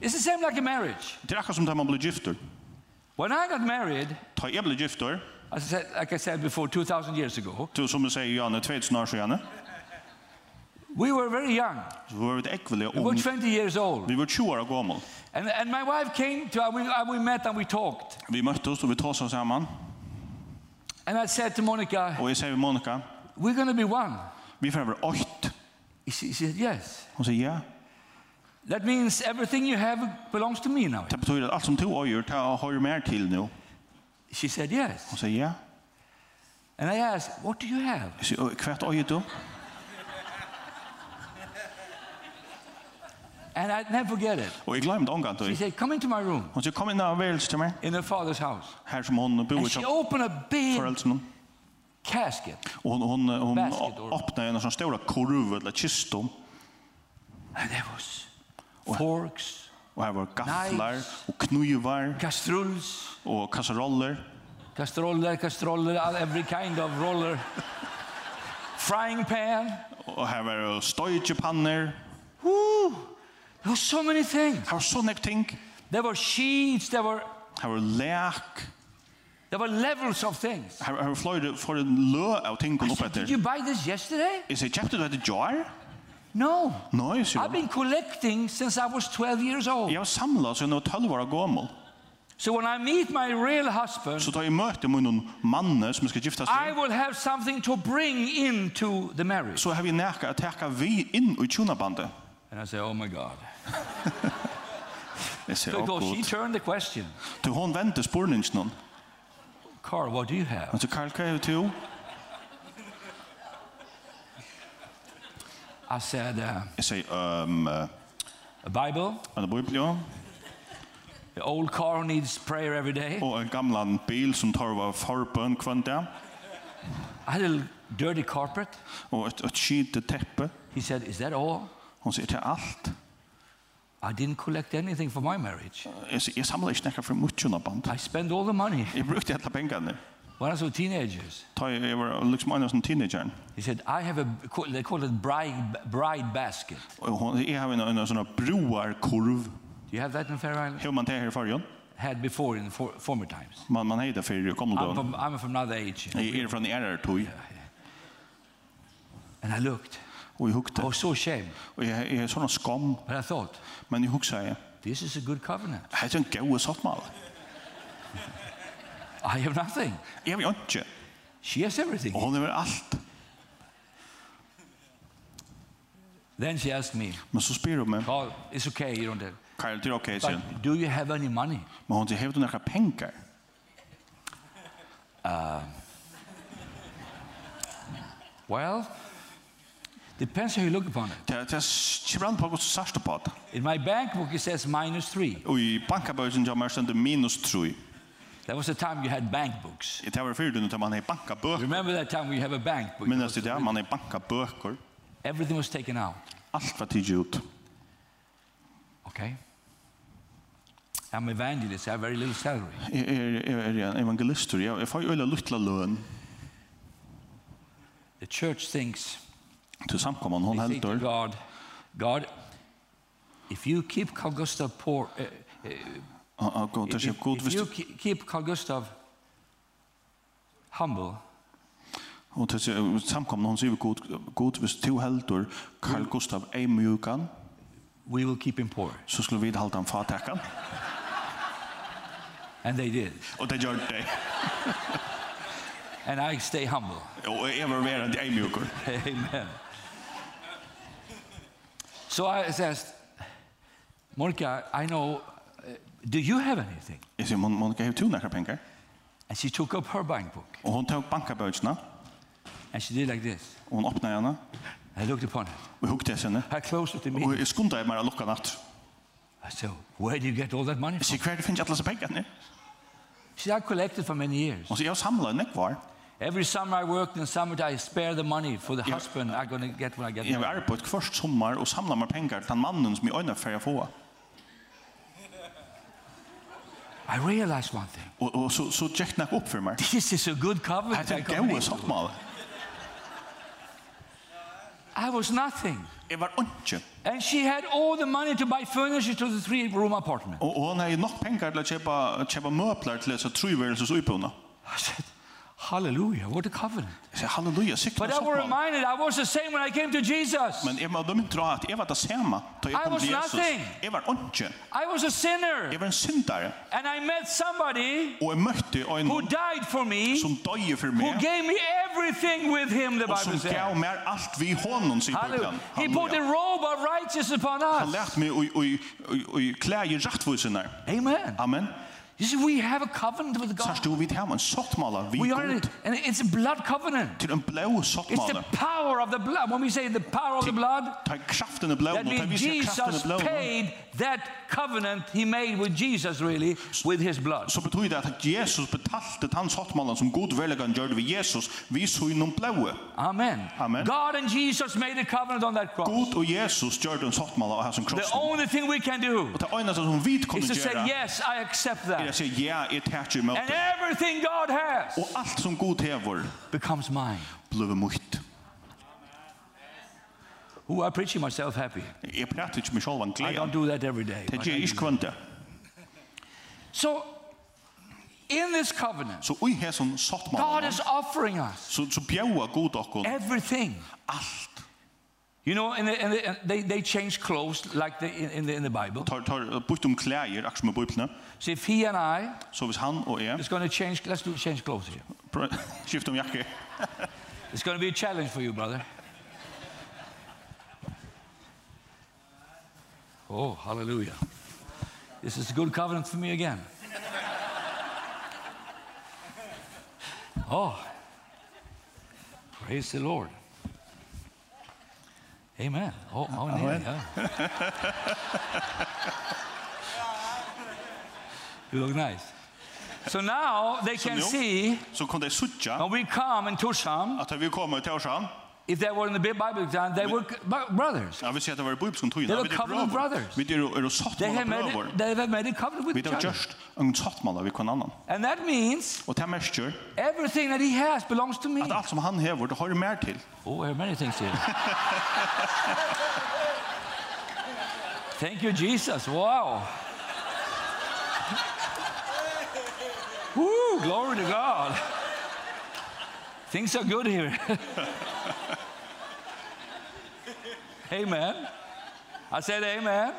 Speaker 2: It's the same like a marriage.
Speaker 3: Det er akkurat som da man blir gifter.
Speaker 2: When I got married,
Speaker 3: Ta jeg ble gifter,
Speaker 2: as I said, like I said before, 2,000 years ago,
Speaker 3: til som du sier, Janne, 2000 år siden,
Speaker 2: we were very young.
Speaker 3: så var vi et ekvile
Speaker 2: We were
Speaker 3: om...
Speaker 2: 20 years old.
Speaker 3: Vi var 20 år gammel.
Speaker 2: And, and my wife came to, and we, and we met and we talked.
Speaker 3: Vi møttes og vi tog oss sammen.
Speaker 2: And I said to Monica,
Speaker 3: Og jeg sier til Monica,
Speaker 2: we're going to be one.
Speaker 3: vi får være åkt.
Speaker 2: She, she said, yes.
Speaker 3: Hun sier, ja.
Speaker 2: That means everything you have belongs to me now.
Speaker 3: Det betyr at alt som du øyer, det høyrer mer til nå.
Speaker 2: She said, yes.
Speaker 3: Hun sier, ja.
Speaker 2: And I asked, what do you have?
Speaker 3: Jeg sier, «Øy, hva øyer du?
Speaker 2: And I never forget it.
Speaker 3: Og jeg glemte omgang
Speaker 2: She
Speaker 3: til.
Speaker 2: said, come into my room
Speaker 3: Hun sier, kom inn av værelse til meg.
Speaker 2: in her father's house.
Speaker 3: Her som hun bor
Speaker 2: And
Speaker 3: i
Speaker 2: she opened a big
Speaker 3: foreldrene.
Speaker 2: casket.
Speaker 3: Og hun, hun, hun
Speaker 2: Basket or-
Speaker 3: åpner en sånn stor kurv eller kistum.
Speaker 2: And there was forks,
Speaker 3: Og her var gaflar
Speaker 2: Knives.
Speaker 3: og knuivar
Speaker 2: castrulls,
Speaker 3: og kasseroller.
Speaker 2: Castroller, castroller, all- every kind of roller. Frying pan.
Speaker 3: Og her var det støytjepanner.
Speaker 2: Woo! There were so many things.
Speaker 3: Her var så nek ting.
Speaker 2: There were sheets, there were,
Speaker 3: Her var lek.
Speaker 2: there were levels of things.
Speaker 3: Her, her var fløyre for en lø av ting
Speaker 2: I
Speaker 3: kom opp
Speaker 2: said, Did
Speaker 3: etter.
Speaker 2: you buy this yesterday?
Speaker 3: Jeg sier, kjøpte du dette jar?
Speaker 2: No.
Speaker 3: Nei, sier
Speaker 2: I've
Speaker 3: hun.
Speaker 2: been collecting since I was 12 years old.
Speaker 3: Jeg var samlet siden jeg var 12 år gammel.
Speaker 2: So when I meet my real husband,
Speaker 3: Så da jeg møtte med noen manne som jeg skal gifte
Speaker 2: I
Speaker 3: seg,
Speaker 2: will have something to bring into the marriage.
Speaker 3: så har vi nekka at teka vi inn i tjonabandet.
Speaker 2: And I say, oh my God.
Speaker 3: Jeg sier, åh
Speaker 2: Because she
Speaker 3: god.
Speaker 2: turned the question,
Speaker 3: Du, hun vente spurningen noen.
Speaker 2: Carl, what do you have?
Speaker 3: Han sier, Karl, hva er det du?
Speaker 2: I said, uh,
Speaker 3: Jeg sier, um, uh,
Speaker 2: a Bible,
Speaker 3: en bibel,
Speaker 2: The old car needs prayer every day.
Speaker 3: og en gamlan bil som tar var forbøn kvann der.
Speaker 2: I had a little dirty carpet.
Speaker 3: og et, et skite teppe.
Speaker 2: He said, Is that all?
Speaker 3: Hon sier til alt.
Speaker 2: I didn't collect anything for my marriage.
Speaker 3: Jeg, sier, jeg samler ikke nekka for mye under band.
Speaker 2: I spent all the money
Speaker 3: Jeg brukte alle pengene.
Speaker 2: when I was a teenagers.
Speaker 3: Da jeg, jeg var liksom en av sånne teenageren.
Speaker 2: He said, I have a, they call it bride, bride basket.
Speaker 3: Og hon, jeg har en, en sånn broarkurv.
Speaker 2: Do you have that in Fair Island?
Speaker 3: Hör man det her i fargen?
Speaker 2: Had before in for, former times.
Speaker 3: Man, man heter for
Speaker 2: I'm
Speaker 3: kommeldagen.
Speaker 2: from, I'm from another age. you know.
Speaker 3: Jeg er fra en ærer tog,
Speaker 2: And I looked.
Speaker 3: og jeg hukte.
Speaker 2: I was so ashamed.
Speaker 3: Og jeg, jeg er sånn skam,
Speaker 2: But I thought,
Speaker 3: men jeg hukte jeg,
Speaker 2: This is a good covenant.
Speaker 3: jeg er en gode sottmal.
Speaker 2: I have nothing.
Speaker 3: Jeg vil ikke.
Speaker 2: She has everything.
Speaker 3: Og hon er alt.
Speaker 2: Then she asked me,
Speaker 3: Men så spyr hun meg,
Speaker 2: Carl, it's okay, you don't have.
Speaker 3: Karl, det er ok, sier hun.
Speaker 2: But do you have any money?
Speaker 3: Men hon sier, hever du nekka penger?
Speaker 2: Well, depends how you look upon it.
Speaker 3: Det er kjibran på hva som sørste på det.
Speaker 2: In my bank book, it says minus three.
Speaker 3: Og i bankabøysen kommer stendet minus 3.
Speaker 2: That was the time you had bank books.
Speaker 3: Det var fyrir døgnet at man er bankabøker.
Speaker 2: Remember that time we have a bank book?
Speaker 3: Minnes til det, man er bankabøker.
Speaker 2: Everything was taken out.
Speaker 3: Alt var tidlig ut.
Speaker 2: Okay. I'm evangelist. I have very little salary.
Speaker 3: Jeg er, jeg er en evangelistur. Jeg, jeg får jo øyla luttla løn
Speaker 2: The church thinks,
Speaker 3: til samkomman. Hon
Speaker 2: they say to
Speaker 3: heldur.
Speaker 2: God, God, if you keep Carl Gustav poor, uh,
Speaker 3: Og- og god, Det
Speaker 2: if,
Speaker 3: er
Speaker 2: if,
Speaker 3: ikke god hvis
Speaker 2: you
Speaker 3: du...
Speaker 2: ke- keep Carl Gustav humble,
Speaker 3: Og det er samkomman. Hon sier god, god hvis du heldur Carl Gustav Eimjukan,
Speaker 2: we will keep him poor.
Speaker 3: så skulle vi halda han fatakkan.
Speaker 2: And they did.
Speaker 3: Og det gjør det.
Speaker 2: and I stay humble.
Speaker 3: Og jeg var verand eimjukur.
Speaker 2: Amen. So I says, Monica, I know, uh, do you have anything?
Speaker 3: Jeg sier, "Mon- Monica, hevur tú nakrar pengar?
Speaker 2: And she took up her bank book
Speaker 3: Og hon tók bankabøkina,
Speaker 2: and she did like this.
Speaker 3: og hon opnaði hana,
Speaker 2: I looked upon it.
Speaker 3: og hugte hess henne.
Speaker 2: I closed it
Speaker 3: Og
Speaker 2: immediately.
Speaker 3: jeg skundaði meg að lukka natt.
Speaker 2: I said, where do you get all that money
Speaker 3: Jeg
Speaker 2: from?
Speaker 3: sier, hver er finnes alle disse pengene?
Speaker 2: She said, I collected for many years.
Speaker 3: Hon sier, jeg har samlet en ekvar.
Speaker 2: Every summer I worked and summer I spare the money for the
Speaker 3: Yeah.
Speaker 2: husband I'm going to get when I get
Speaker 3: Jeg har
Speaker 2: married.
Speaker 3: arbeidt først sommer og samlet meg penger til den mannen som jeg øyne for å få.
Speaker 2: I realized one thing.
Speaker 3: Og, og så, så tjekk den opp for meg.
Speaker 2: This is a good covenant.
Speaker 3: Hette
Speaker 2: I
Speaker 3: er
Speaker 2: come
Speaker 3: gode
Speaker 2: into.
Speaker 3: samtale.
Speaker 2: I was nothing.
Speaker 3: Jeg var ikke.
Speaker 2: And she had all the money to buy furniture to the three room apartment.
Speaker 3: Og, og han har nok penger til å kjøpe, kjøpe møbler til disse trøyværelses uipående.
Speaker 2: I said, Hallelujah, what a covenant.
Speaker 3: Jeg sier, halleluja,
Speaker 2: But
Speaker 3: sikkert
Speaker 2: I was
Speaker 3: samtale.
Speaker 2: reminded I was the same when I came to Jesus.
Speaker 3: Men jeg må da mynte at jeg var det samme da
Speaker 2: I
Speaker 3: jeg kom
Speaker 2: was
Speaker 3: til Jesus.
Speaker 2: nothing.
Speaker 3: Jeg var ikke.
Speaker 2: I was a sinner.
Speaker 3: Jeg var en syndare.
Speaker 2: And I met somebody
Speaker 3: Og jeg møtte
Speaker 2: who
Speaker 3: øynene
Speaker 2: died for me,
Speaker 3: som døde for
Speaker 2: who
Speaker 3: meg.
Speaker 2: gave me everything with him, the
Speaker 3: Og
Speaker 2: Bible
Speaker 3: som gav
Speaker 2: says.
Speaker 3: meg alt vi hånden, sier
Speaker 2: Hallelujah.
Speaker 3: Bibelen.
Speaker 2: He put the
Speaker 3: Halleluja.
Speaker 2: robe of righteousness upon
Speaker 3: Han
Speaker 2: us.
Speaker 3: lærte meg å- å- å- å å klæde i rettvisene.
Speaker 2: Amen.
Speaker 3: Amen.
Speaker 2: You see, we have a covenant with
Speaker 3: Sars
Speaker 2: God.
Speaker 3: du vid hemmen, sottmala, vi
Speaker 2: We are,
Speaker 3: god,
Speaker 2: and it's a blood covenant.
Speaker 3: til en blå
Speaker 2: It's the
Speaker 3: sottmala.
Speaker 2: power of the blood. When we say the power of the blood,
Speaker 3: Ta kraften i blå,
Speaker 2: That
Speaker 3: ta
Speaker 2: means
Speaker 3: vise kraften i
Speaker 2: Jesus
Speaker 3: blå.
Speaker 2: paid that covenant he made with Jesus, really, with his blood.
Speaker 3: Så betyr det at Jesus betalte den sottmalan som god velgan gjør ved Jesus, vi så innom blå.
Speaker 2: Amen.
Speaker 3: Amen.
Speaker 2: God and Jesus made a covenant on that cross.
Speaker 3: God og Jesus gjør den sottmala av hans
Speaker 2: The
Speaker 3: krossen.
Speaker 2: only thing we can do
Speaker 3: Og det øyne som vi kunne
Speaker 2: is to say,
Speaker 3: gjøre, er
Speaker 2: Yes, I accept
Speaker 3: at
Speaker 2: that.
Speaker 3: sier, ja, jeg tæt i
Speaker 2: And
Speaker 3: møte.
Speaker 2: everything God has
Speaker 3: Og alt som god hever,
Speaker 2: becomes mine.
Speaker 3: bløver mukt.
Speaker 2: Who I preaching myself happy.
Speaker 3: Jeg prater ikke med sjålvan
Speaker 2: I don't
Speaker 3: gleden.
Speaker 2: do that every day.
Speaker 3: Det
Speaker 2: but I
Speaker 3: gjør jeg
Speaker 2: do
Speaker 3: ikke kvante.
Speaker 2: that. So, in this covenant,
Speaker 3: Så ui hesson
Speaker 2: God
Speaker 3: sottmalan,
Speaker 2: is offering us
Speaker 3: så, så bjaua god okkon
Speaker 2: everything.
Speaker 3: alt.
Speaker 2: You know, and, and, and they, they change clothes like the, in, in, the, in the Bible.
Speaker 3: tar tar bytt om klæder akkurat med bøplene.
Speaker 2: So if he and I
Speaker 3: Så hvis han og jeg
Speaker 2: It's going to change. Let's do change clothes here.
Speaker 3: pr- skifter om jakke,
Speaker 2: It's going to be a challenge for you, brother. Oh, hallelujah. This is a good covenant for me again. Oh, praise the Lord. Amen. Oh, oh Amen. Yeah. you look nice. So now they can
Speaker 3: nu-
Speaker 2: see
Speaker 3: så kom de suttja
Speaker 2: when we come in Torsham,
Speaker 3: at vi kom til Årshavn.
Speaker 2: if they were in the Bible time, they were c- bro- brothers.
Speaker 3: Ja, vi ser at det var i bibelskon tøyna.
Speaker 2: They were covenant brothers.
Speaker 3: Vi er jo- er
Speaker 2: They
Speaker 3: jo sattmala
Speaker 2: have made
Speaker 3: brøver.
Speaker 2: a, they have made a covenant with
Speaker 3: Vi
Speaker 2: each
Speaker 3: er jo
Speaker 2: other.
Speaker 3: just en sattmala vi kan annan.
Speaker 2: And that means
Speaker 3: Og det merker
Speaker 2: everything that he has belongs to me.
Speaker 3: at alt som han hever, det har det mer til.
Speaker 2: Oh, there are many things here. Thank you, Jesus. Wow. Woo, glory to God. Things are good here. amen. I said amen.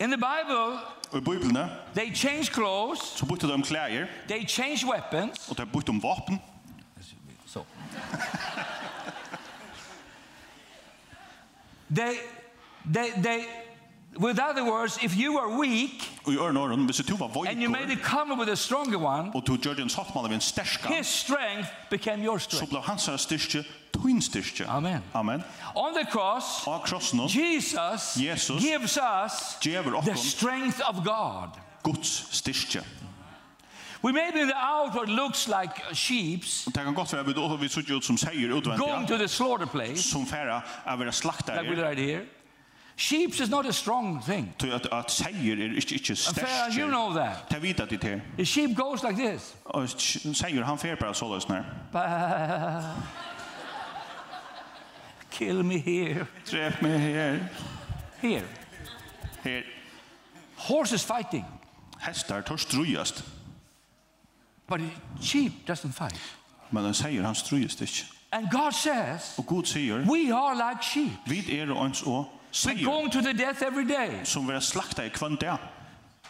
Speaker 2: In the Bible,
Speaker 3: Og i biblene
Speaker 2: they change clothes,
Speaker 3: så bytte de om klæder,
Speaker 2: they change weapons,
Speaker 3: og de bytte om vapen.
Speaker 2: so. they, they, they, with other words, if you are weak
Speaker 3: Og i ørne åren, hvis du var
Speaker 2: and you made a
Speaker 3: voikor,
Speaker 2: covenant with a stronger one,
Speaker 3: og du gjør en sattmala ved en sterskan,
Speaker 2: his strength became your
Speaker 3: så
Speaker 2: strength.
Speaker 3: ble hans styrke tøyn styrke.
Speaker 2: Amen.
Speaker 3: Amen.
Speaker 2: On the cross,
Speaker 3: Og krossen,
Speaker 2: Jesus,
Speaker 3: Jesus
Speaker 2: gives us
Speaker 3: djever
Speaker 2: the
Speaker 3: okkon
Speaker 2: strength of God.
Speaker 3: Guds styrke.
Speaker 2: We may be in the outward looks like sheeps
Speaker 3: Det kan godt være vi då vi sitter ut som säger
Speaker 2: going
Speaker 3: utvendigt
Speaker 2: to the slaughter place,
Speaker 3: som färra
Speaker 2: like
Speaker 3: av era
Speaker 2: we did
Speaker 3: slaktare.
Speaker 2: right here. Sheeps is not a strong thing.
Speaker 3: Till att att säger är inte inte
Speaker 2: And Farah, you know
Speaker 3: stäsch.
Speaker 2: that.
Speaker 3: Ta vita till det.
Speaker 2: The sheep goes like this.
Speaker 3: Och säger han fär bara så lös när.
Speaker 2: Bah. Kill me here.
Speaker 3: Träff mig här.
Speaker 2: Here.
Speaker 3: Här
Speaker 2: Horses fighting,
Speaker 3: hästar tar strujast.
Speaker 2: but a sheep doesn't fight.
Speaker 3: Men han säger han strujast inte.
Speaker 2: And God says,
Speaker 3: Och Gud säger
Speaker 2: we are like sheep.
Speaker 3: vid er och ens och
Speaker 2: We're
Speaker 3: säger
Speaker 2: going to the death every day.
Speaker 3: som våra slaktare kvann där.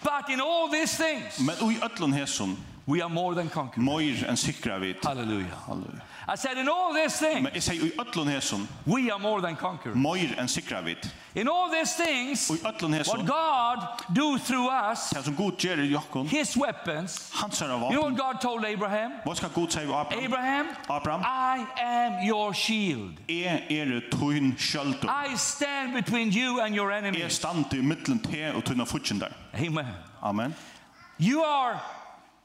Speaker 2: But in all these things,
Speaker 3: Men oj öllon hässon
Speaker 2: We are more than conquerors.
Speaker 3: Møyr enn sikra vit.
Speaker 2: Hallelujah.
Speaker 3: Halleluja.
Speaker 2: I said, in all these things,
Speaker 3: Men jeg sier i ötlun hesson,
Speaker 2: we are more than conquerors.
Speaker 3: møyr enn sikra vit.
Speaker 2: In all these things,
Speaker 3: Og i ötlun
Speaker 2: what
Speaker 3: hesson,
Speaker 2: God do through us,
Speaker 3: det som god gjer i jokkon,
Speaker 2: His weapons.
Speaker 3: hans er av
Speaker 2: You know what
Speaker 3: vapen.
Speaker 2: God told Abraham?
Speaker 3: Hva skal god sier Abraham?
Speaker 2: Abraham,
Speaker 3: Abraham.
Speaker 2: I am your shield.
Speaker 3: Jeg er tøyn sjøldur.
Speaker 2: I stand between you and your
Speaker 3: Jeg
Speaker 2: enemies.
Speaker 3: stand i mittlen te og tøyna futsindar.
Speaker 2: Amen.
Speaker 3: Amen.
Speaker 2: You are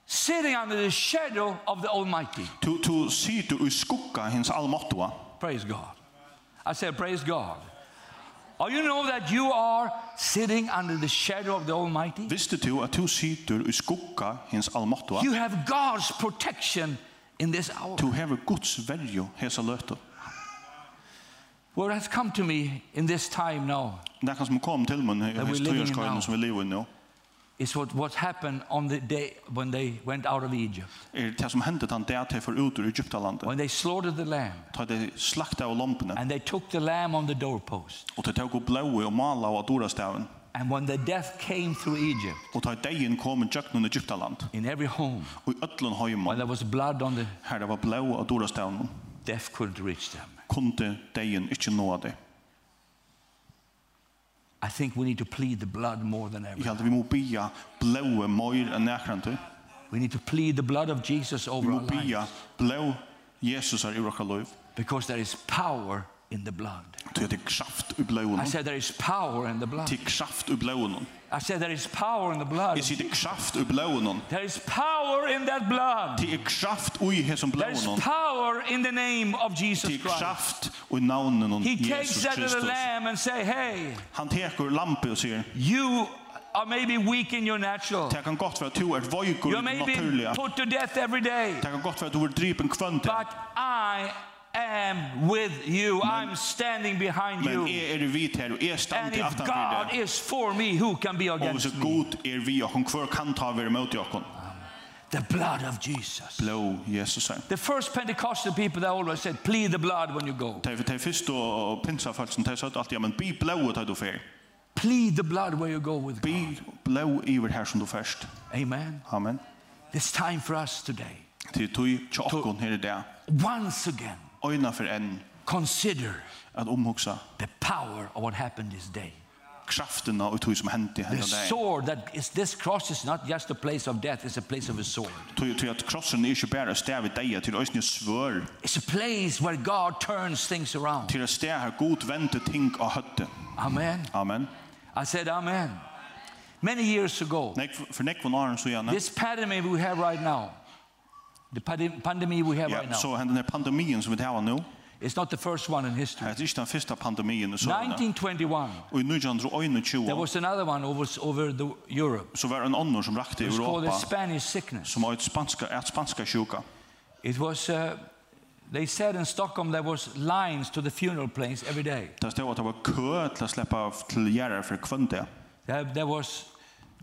Speaker 2: sitting under the shadow of the Almighty.
Speaker 3: Tu, tu sitter i skugga hins allmåttua.
Speaker 2: Praise God. I said, Praise God. Are you know that you are sitting under the shadow of the Almighty?
Speaker 3: Visste tu at tu sitter i skugga hins allmåttua?
Speaker 2: You have God's protection in this hour.
Speaker 3: Tu hever Guds verjo hesa løtu.
Speaker 2: What has come to me in this time now
Speaker 3: Nekkan som er kom til mun
Speaker 2: we're
Speaker 3: hins
Speaker 2: living in now.
Speaker 3: tøyerskøyna som vi lever i nå,
Speaker 2: is what, what happened on the day when they went out of Egypt,
Speaker 3: er det som hendet han det at de for ut ur Egyptalandet.
Speaker 2: when they slaughtered the lamb
Speaker 3: Ta de slakta av lampene,
Speaker 2: and they took the lamb on the doorpost.
Speaker 3: og de tog opp blåi og mala av adorastaven,
Speaker 2: And when the death came through Egypt,
Speaker 3: og ta deien kom i tjøknen Egyptaland,
Speaker 2: in every home,
Speaker 3: og i ötlun
Speaker 2: while
Speaker 3: høyma,
Speaker 2: there was blood on the
Speaker 3: her det var blåi av adorastaven,
Speaker 2: death couldn't reach them.
Speaker 3: kunde deien ikke nå av det.
Speaker 2: I think we need to plead the blood more than ever.
Speaker 3: Jeg held vi må bia blåi møyr enn nekrandu,
Speaker 2: We need to plead the blood of Jesus
Speaker 3: vi
Speaker 2: over
Speaker 3: må
Speaker 2: our lives
Speaker 3: bia blåi Jesus er i okra loiv,
Speaker 2: because there is power in the blood.
Speaker 3: til det er kraft i blåi,
Speaker 2: I said there is power in the blood.
Speaker 3: til er kraft i blåi,
Speaker 2: I said there is power in the blood.
Speaker 3: Jeg sier det er kraft i blåen.
Speaker 2: There is power in that blood.
Speaker 3: Det er kraft i hesson
Speaker 2: There is
Speaker 3: blåen.
Speaker 2: power in the name of
Speaker 3: Det
Speaker 2: Jesus
Speaker 3: er
Speaker 2: Christ.
Speaker 3: kraft i navnen om
Speaker 2: He
Speaker 3: Jesus
Speaker 2: takes that little
Speaker 3: Kristus.
Speaker 2: lamb and say, "Hey,
Speaker 3: Han teker lampe og sier,
Speaker 2: you are maybe weak in your natural.
Speaker 3: det kan godt være at du er vøyker
Speaker 2: You
Speaker 3: i
Speaker 2: are
Speaker 3: det
Speaker 2: maybe
Speaker 3: naturlige.
Speaker 2: put to death every day,
Speaker 3: Det kan godt være at du er dripen kvønt.
Speaker 2: but I am with you. I'm standing behind
Speaker 3: Men
Speaker 2: you.
Speaker 3: jeg er vidt her, og jeg
Speaker 2: And
Speaker 3: stand i
Speaker 2: if
Speaker 3: aftan for
Speaker 2: God
Speaker 3: det.
Speaker 2: is for me, who can be
Speaker 3: Og hvis
Speaker 2: against me?"
Speaker 3: god er vi, og hun hver kan ta være mot jokken.
Speaker 2: The blood of Jesus.
Speaker 3: Blå Jesus er. her.
Speaker 2: The first Pentecostal people that always said, plead the blood when you go.
Speaker 3: Det er først og pinsafelsen, det er sagt alltid, ja, men bi blå tar du fer.
Speaker 2: Plead the blood where you go with God.
Speaker 3: Bi blå iver her som du først.
Speaker 2: Amen.
Speaker 3: Amen.
Speaker 2: It's time for us today.
Speaker 3: Til tog tjokken her i det.
Speaker 2: Once again,
Speaker 3: Øyna for en,
Speaker 2: consider
Speaker 3: at omhugsa
Speaker 2: the power of what happened this day.
Speaker 3: krafterna och tog som hänt i
Speaker 2: The
Speaker 3: hända dig.
Speaker 2: sword that is this cross is not just a place of death, it's a place of a sword.
Speaker 3: Tog tog att krossen är inte er bara stäv i dig till ösnö svör
Speaker 2: It's a place where God turns things around.
Speaker 3: till att stäv här god vänta ting och hötte.
Speaker 2: Amen.
Speaker 3: Amen.
Speaker 2: I said amen. Many years ago,
Speaker 3: Nej för nej von Arn så gärna.
Speaker 2: this pandemic we have right now, the pandem- pandemic we have right
Speaker 3: Ja, er
Speaker 2: now,
Speaker 3: så hände den här pandemin som vi har nu.
Speaker 2: It's not the first one in
Speaker 3: Det
Speaker 2: history.
Speaker 3: är inte den första pandemin så.
Speaker 2: 1921,
Speaker 3: Och i nu
Speaker 2: there
Speaker 3: 1921
Speaker 2: was another one over, over the Europe.
Speaker 3: så var det en annan som rakte i
Speaker 2: It was called the
Speaker 3: Europa
Speaker 2: Spanish sickness.
Speaker 3: som var ett spanska ett spanska sjuka.
Speaker 2: It was, uh, they said in Stockholm there was lines to the funeral planes every day.
Speaker 3: Det stod att det var kö till att släppa av till Gerard för kvante.
Speaker 2: There, there was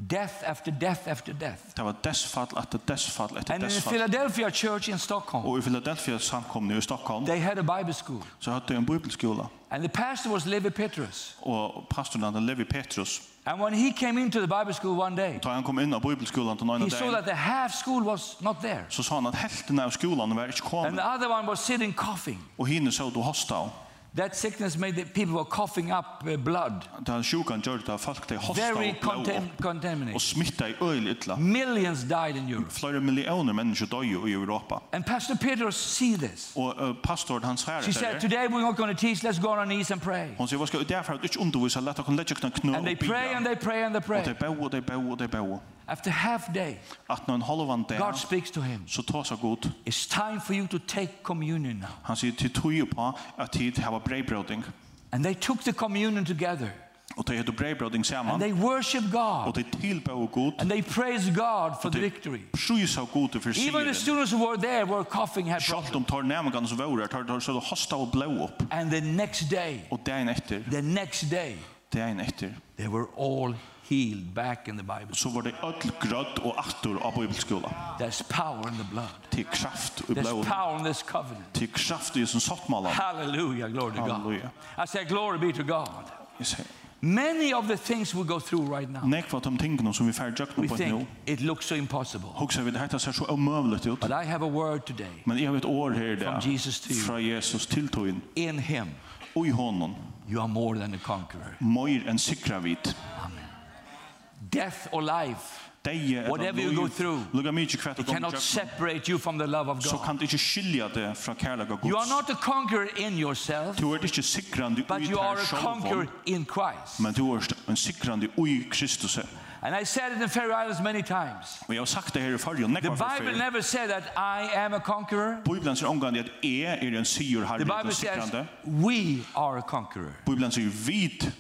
Speaker 2: death after death after death.
Speaker 3: Det var dessfall efter dessfall efter
Speaker 2: And in the
Speaker 3: dessfall.
Speaker 2: eh, Philadelphia church in Stockholm,
Speaker 3: Och i Philadelphia samkomne i Stockholm
Speaker 2: they had a Bible school.
Speaker 3: så hade jag en bibelskola.
Speaker 2: And the pastor was Levi Petrus.
Speaker 3: og pastoren han Levi Petrus
Speaker 2: And when he came into the Bible school one day,
Speaker 3: ta han kom inn av bibelskolan til nøyna
Speaker 2: he saw
Speaker 3: dagen
Speaker 2: that the half school was not there.
Speaker 3: så sa han at helten av skolan var ikke
Speaker 2: And
Speaker 3: kommet
Speaker 2: the other one was sitting coughing.
Speaker 3: og hinne så du hosta av
Speaker 2: That sickness made the people were coughing up uh, blood.
Speaker 3: da han sjukan gjør det at folk de hosta
Speaker 2: Very
Speaker 3: og blå
Speaker 2: contam-
Speaker 3: og
Speaker 2: contaminated.
Speaker 3: smitta i øyel ytla
Speaker 2: Millions died in Europe.
Speaker 3: flere millioner mennesker døy i Europa
Speaker 2: And Pastor Peter see this.
Speaker 3: og uh, pastoren han sier
Speaker 2: She said,
Speaker 3: det her
Speaker 2: today we're not going to teach. Let's go on our knees and pray.
Speaker 3: hun sier hva skal derfor at du er ikke undervisa lett og lett og knå
Speaker 2: And they
Speaker 3: og
Speaker 2: pray and
Speaker 3: bia
Speaker 2: they pray and they
Speaker 3: og de
Speaker 2: pray.
Speaker 3: bau og de bau og de bau
Speaker 2: After half day,
Speaker 3: at når en halvan
Speaker 2: God
Speaker 3: dag
Speaker 2: speaks to him.
Speaker 3: så ta seg god
Speaker 2: It's time for you to take communion now.
Speaker 3: han sier til tog på at er tid hava breibrøding
Speaker 2: And they took the communion together.
Speaker 3: og de heter breibrøding
Speaker 2: And
Speaker 3: saman
Speaker 2: they worship
Speaker 3: og
Speaker 2: God.
Speaker 3: de tilbau god
Speaker 2: And they praise God for the
Speaker 3: det-
Speaker 2: victory.
Speaker 3: Prisa av gode for
Speaker 2: Even the
Speaker 3: siren.
Speaker 2: students who were there were coughing. had
Speaker 3: Sjalt
Speaker 2: problems.
Speaker 3: om tar nærmengene som våre, tar tar så hosta og blå opp.
Speaker 2: And the next day,
Speaker 3: Og dagen etter,
Speaker 2: the next day,
Speaker 3: dagen etter,
Speaker 2: They were all healed back in the Bible.
Speaker 3: så var det öll grødd og attor av bibelskola.
Speaker 2: There's power in the blood.
Speaker 3: Til kraft og
Speaker 2: There's
Speaker 3: blå.
Speaker 2: power in this covenant.
Speaker 3: Til kraft i sin sottmalan.
Speaker 2: Hallelujah. Glory to God.
Speaker 3: Hallelujah.
Speaker 2: I say, Glory be to God.
Speaker 3: Jeg sier,
Speaker 2: Many of the things we go through right now,
Speaker 3: Nekva av de tingene som vi er færre
Speaker 2: we
Speaker 3: døgnet på et nå,
Speaker 2: think it looks so impossible.
Speaker 3: hokser vi det heter seg så omøvlet ut.
Speaker 2: But I have a word today
Speaker 3: Men jeg har et år her i
Speaker 2: from
Speaker 3: dag,
Speaker 2: Jesus to you.
Speaker 3: fra Jesus til togjen,
Speaker 2: In Him,
Speaker 3: og i hånden,
Speaker 2: you are more than a conqueror.
Speaker 3: møyr enn sikra vid.
Speaker 2: Death or life,
Speaker 3: Deie
Speaker 2: Whatever you go through,
Speaker 3: lukka mykje kvært
Speaker 2: it
Speaker 3: og gong
Speaker 2: cannot
Speaker 3: døgnet,
Speaker 2: separate you from the love of
Speaker 3: så
Speaker 2: God.
Speaker 3: kan du ikke skilja det fra kærlega
Speaker 2: You are
Speaker 3: gods.
Speaker 2: not a conqueror in yourself,
Speaker 3: Du er ikke sikrande
Speaker 2: but
Speaker 3: ui
Speaker 2: you are
Speaker 3: her
Speaker 2: a
Speaker 3: sjolvon,
Speaker 2: conqueror in Christ.
Speaker 3: men du er en sikrande ui Kristus.
Speaker 2: And I said it in Faroe Islands many times.
Speaker 3: Og jeg har sagt det her i fargen, nekva
Speaker 2: The
Speaker 3: for
Speaker 2: Bible
Speaker 3: fyrir.
Speaker 2: never said that I am a conqueror.
Speaker 3: Bibelen sier omgående at jeg er en sigur
Speaker 2: The
Speaker 3: herre
Speaker 2: Bible
Speaker 3: og
Speaker 2: says
Speaker 3: sikrande.
Speaker 2: we are a conqueror.
Speaker 3: Bibelen sier vid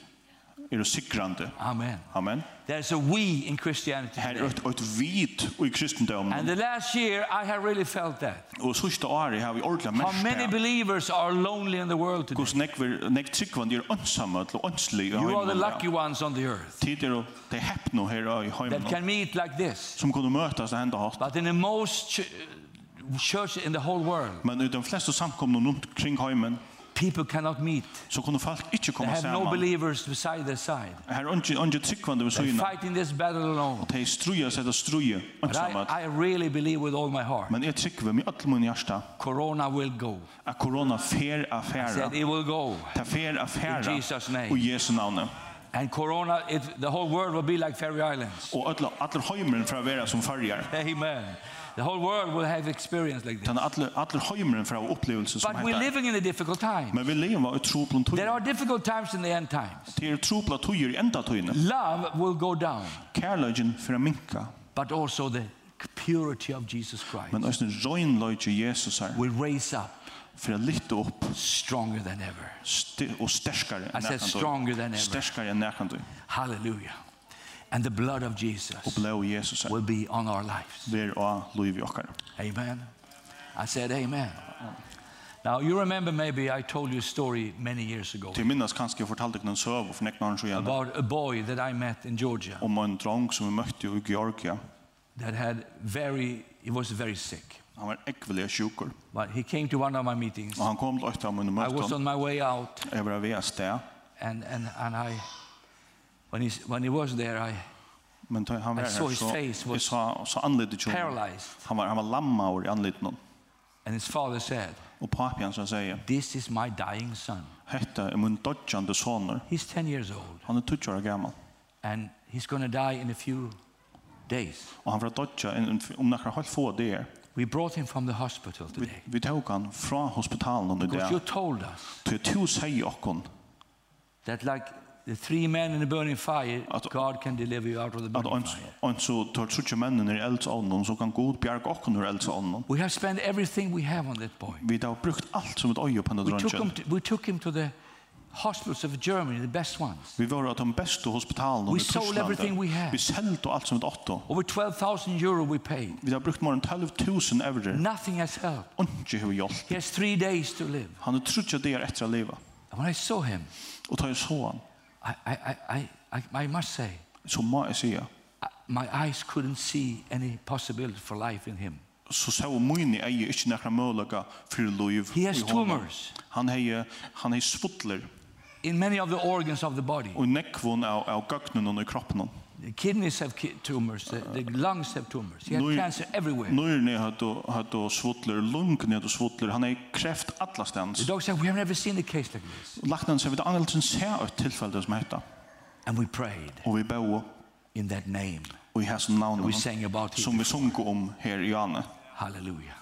Speaker 3: er sikrande.
Speaker 2: Amen.
Speaker 3: Amen.
Speaker 2: There's a we in Christianity.
Speaker 3: Her er
Speaker 2: today.
Speaker 3: et, et vid i kristendommen.
Speaker 2: And the last year, I have really felt that.
Speaker 3: Og sørste året har vi ordentlig
Speaker 2: How
Speaker 3: mest
Speaker 2: many
Speaker 3: her.
Speaker 2: believers are lonely in the world today?
Speaker 3: Hvordan nekver, nek tryggvann er ønsomme til ønslig i
Speaker 2: You are the
Speaker 3: heimen.
Speaker 2: lucky ones on the earth
Speaker 3: Tid er det hepp nå her i
Speaker 2: that
Speaker 3: heimen.
Speaker 2: can meet like this.
Speaker 3: Som kunne møtes og hende hatt.
Speaker 2: But in the most ch- uh, church in the whole world,
Speaker 3: Men i de fleste samkomne rundt kring heimen,
Speaker 2: people cannot meet.
Speaker 3: så kunne folk ikke
Speaker 2: They
Speaker 3: komme
Speaker 2: have no
Speaker 3: sammen.
Speaker 2: believers beside their side.
Speaker 3: Her er ikke- ikke tryggvann ved
Speaker 2: They're
Speaker 3: søgene.
Speaker 2: fighting this battle alone.
Speaker 3: De struer seg til struer
Speaker 2: But I,
Speaker 3: ønsomme.
Speaker 2: I really believe with all my heart,
Speaker 3: Men jeg tryggvann med alt min hjerte
Speaker 2: Corona will go.
Speaker 3: at korona fer
Speaker 2: I
Speaker 3: affæra.
Speaker 2: said it will go.
Speaker 3: Ta fer affæra
Speaker 2: In Jesus' name.
Speaker 3: og Jesu navne.
Speaker 2: And Corona, it, the whole world will be like Ferry Islands.
Speaker 3: Og alle, alle heimeren fra vera som farger.
Speaker 2: Amen. The whole world will have experience like this.
Speaker 3: Den alle, alle heimeren fra opplevelse som
Speaker 2: But we're
Speaker 3: heter.
Speaker 2: living in a difficult time.
Speaker 3: Men vi lever i troplen tøyer.
Speaker 2: There are difficult times in the end times.
Speaker 3: Det er tropla tøyer i enda tøyene.
Speaker 2: Love will go down,
Speaker 3: Kærløgjen for å minka.
Speaker 2: but also the purity of Jesus
Speaker 3: Men
Speaker 2: Christ
Speaker 3: også røgnløgje Jesus her.
Speaker 2: will raise up
Speaker 3: For å lytte opp
Speaker 2: stronger than ever.
Speaker 3: sti- og sterkare
Speaker 2: I
Speaker 3: enn
Speaker 2: said stronger than ever.
Speaker 3: Sterkare enn nekan tøy.
Speaker 2: Hallelujah. And the blood of
Speaker 3: Og
Speaker 2: Jesus
Speaker 3: blå Jesus er her.
Speaker 2: will be on our lives.
Speaker 3: Ver og loiv i okkar.
Speaker 2: Amen. I said amen. Now, you remember maybe I told you a story many years ago
Speaker 3: Til minnes kanskje jeg fortalte ikke noen søv og fornekna han så gjerne.
Speaker 2: about a boy that I met in Georgia
Speaker 3: Om en drang som vi møtte jo i Georgia.
Speaker 2: that had very, he was very sick.
Speaker 3: Han var ekvelig sjukur.
Speaker 2: But he came to one of my meetings.
Speaker 3: Og han kom til åtta av mine
Speaker 2: I was
Speaker 3: møtten.
Speaker 2: on my way out,
Speaker 3: Jeg var ved et sted.
Speaker 2: and, and, and I, when, he, when he was there, I
Speaker 3: Men da han var
Speaker 2: I saw
Speaker 3: her,
Speaker 2: his
Speaker 3: så
Speaker 2: face
Speaker 3: jeg
Speaker 2: was
Speaker 3: sa, så anledet jo.
Speaker 2: paralyzed.
Speaker 3: Han var, han var lamma over i anledet noen.
Speaker 2: And his father said,
Speaker 3: Og papi han som sier,
Speaker 2: This is my dying son.
Speaker 3: Hetta er mun dodgjande sonur.
Speaker 2: He's 10 years old,
Speaker 3: Han er 20 år gammal.
Speaker 2: and he's going to die in a few days.
Speaker 3: Og han var dodja inn- inn- om nakra halv få der.
Speaker 2: We brought him from the hospital
Speaker 3: Vi,
Speaker 2: today
Speaker 3: vi tók han fra hospitalen i
Speaker 2: because you
Speaker 3: dag.
Speaker 2: told us
Speaker 3: Til to sier okkon
Speaker 2: that, like the three men in the burning fire,
Speaker 3: Att-
Speaker 2: God can deliver you out of the
Speaker 3: at
Speaker 2: burning
Speaker 3: ans
Speaker 2: fire.
Speaker 3: ans så tar trutje mennene i eldsånden, så kan god bjerg okkon ur eldsånden.
Speaker 2: We have spent everything we have on that boy.
Speaker 3: Vi har brukt alt som et øye på denne
Speaker 2: We took him
Speaker 3: drøntjen.
Speaker 2: to, we took him to the hospitals of Germany, the best ones.
Speaker 3: Vi var av de beste hospitalene
Speaker 2: We
Speaker 3: i
Speaker 2: sold everything we
Speaker 3: Tyskland.
Speaker 2: had.
Speaker 3: Vi selgte alt som et åtto.
Speaker 2: Over 12,000 euro we paid.
Speaker 3: Vi har brukt mer enn 12.000 euro.
Speaker 2: Nothing has helped.
Speaker 3: Ikke har vi hjulpet.
Speaker 2: He has three days to live.
Speaker 3: Han er trutje der etter å leve.
Speaker 2: And when I saw him,
Speaker 3: Og da jeg så han,
Speaker 2: I, I, I, I, I- I must say,
Speaker 3: så må jeg sige,
Speaker 2: I- my eyes couldn't see any possibility for life in him.
Speaker 3: så så mun i ei ikkje nakra mølaka fyrir loiv.
Speaker 2: He has
Speaker 3: i honum.
Speaker 2: tumors.
Speaker 3: Han hei han hei svudler
Speaker 2: In many of the organs of the body,
Speaker 3: og nekkvon av av gøgnun og i kroppen.
Speaker 2: the kidneys have ki- tumors, the, the lungs have tumors. He had
Speaker 3: Noi-
Speaker 2: cancer everywhere.
Speaker 3: Nøyrne hatt og hatt og svudler, lungene hatt og svudler. Han hei kreft alla
Speaker 2: The
Speaker 3: stans.
Speaker 2: doctor said, We have never seen a case like this.
Speaker 3: Lagnan seg vid angelsen se eit tilfelle som hetta.
Speaker 2: And we prayed
Speaker 3: Og vi bau
Speaker 2: in that name.
Speaker 3: og i hæsum navn
Speaker 2: We sang about it.
Speaker 3: som vi sunko om um her i ane.
Speaker 2: Hallelujah.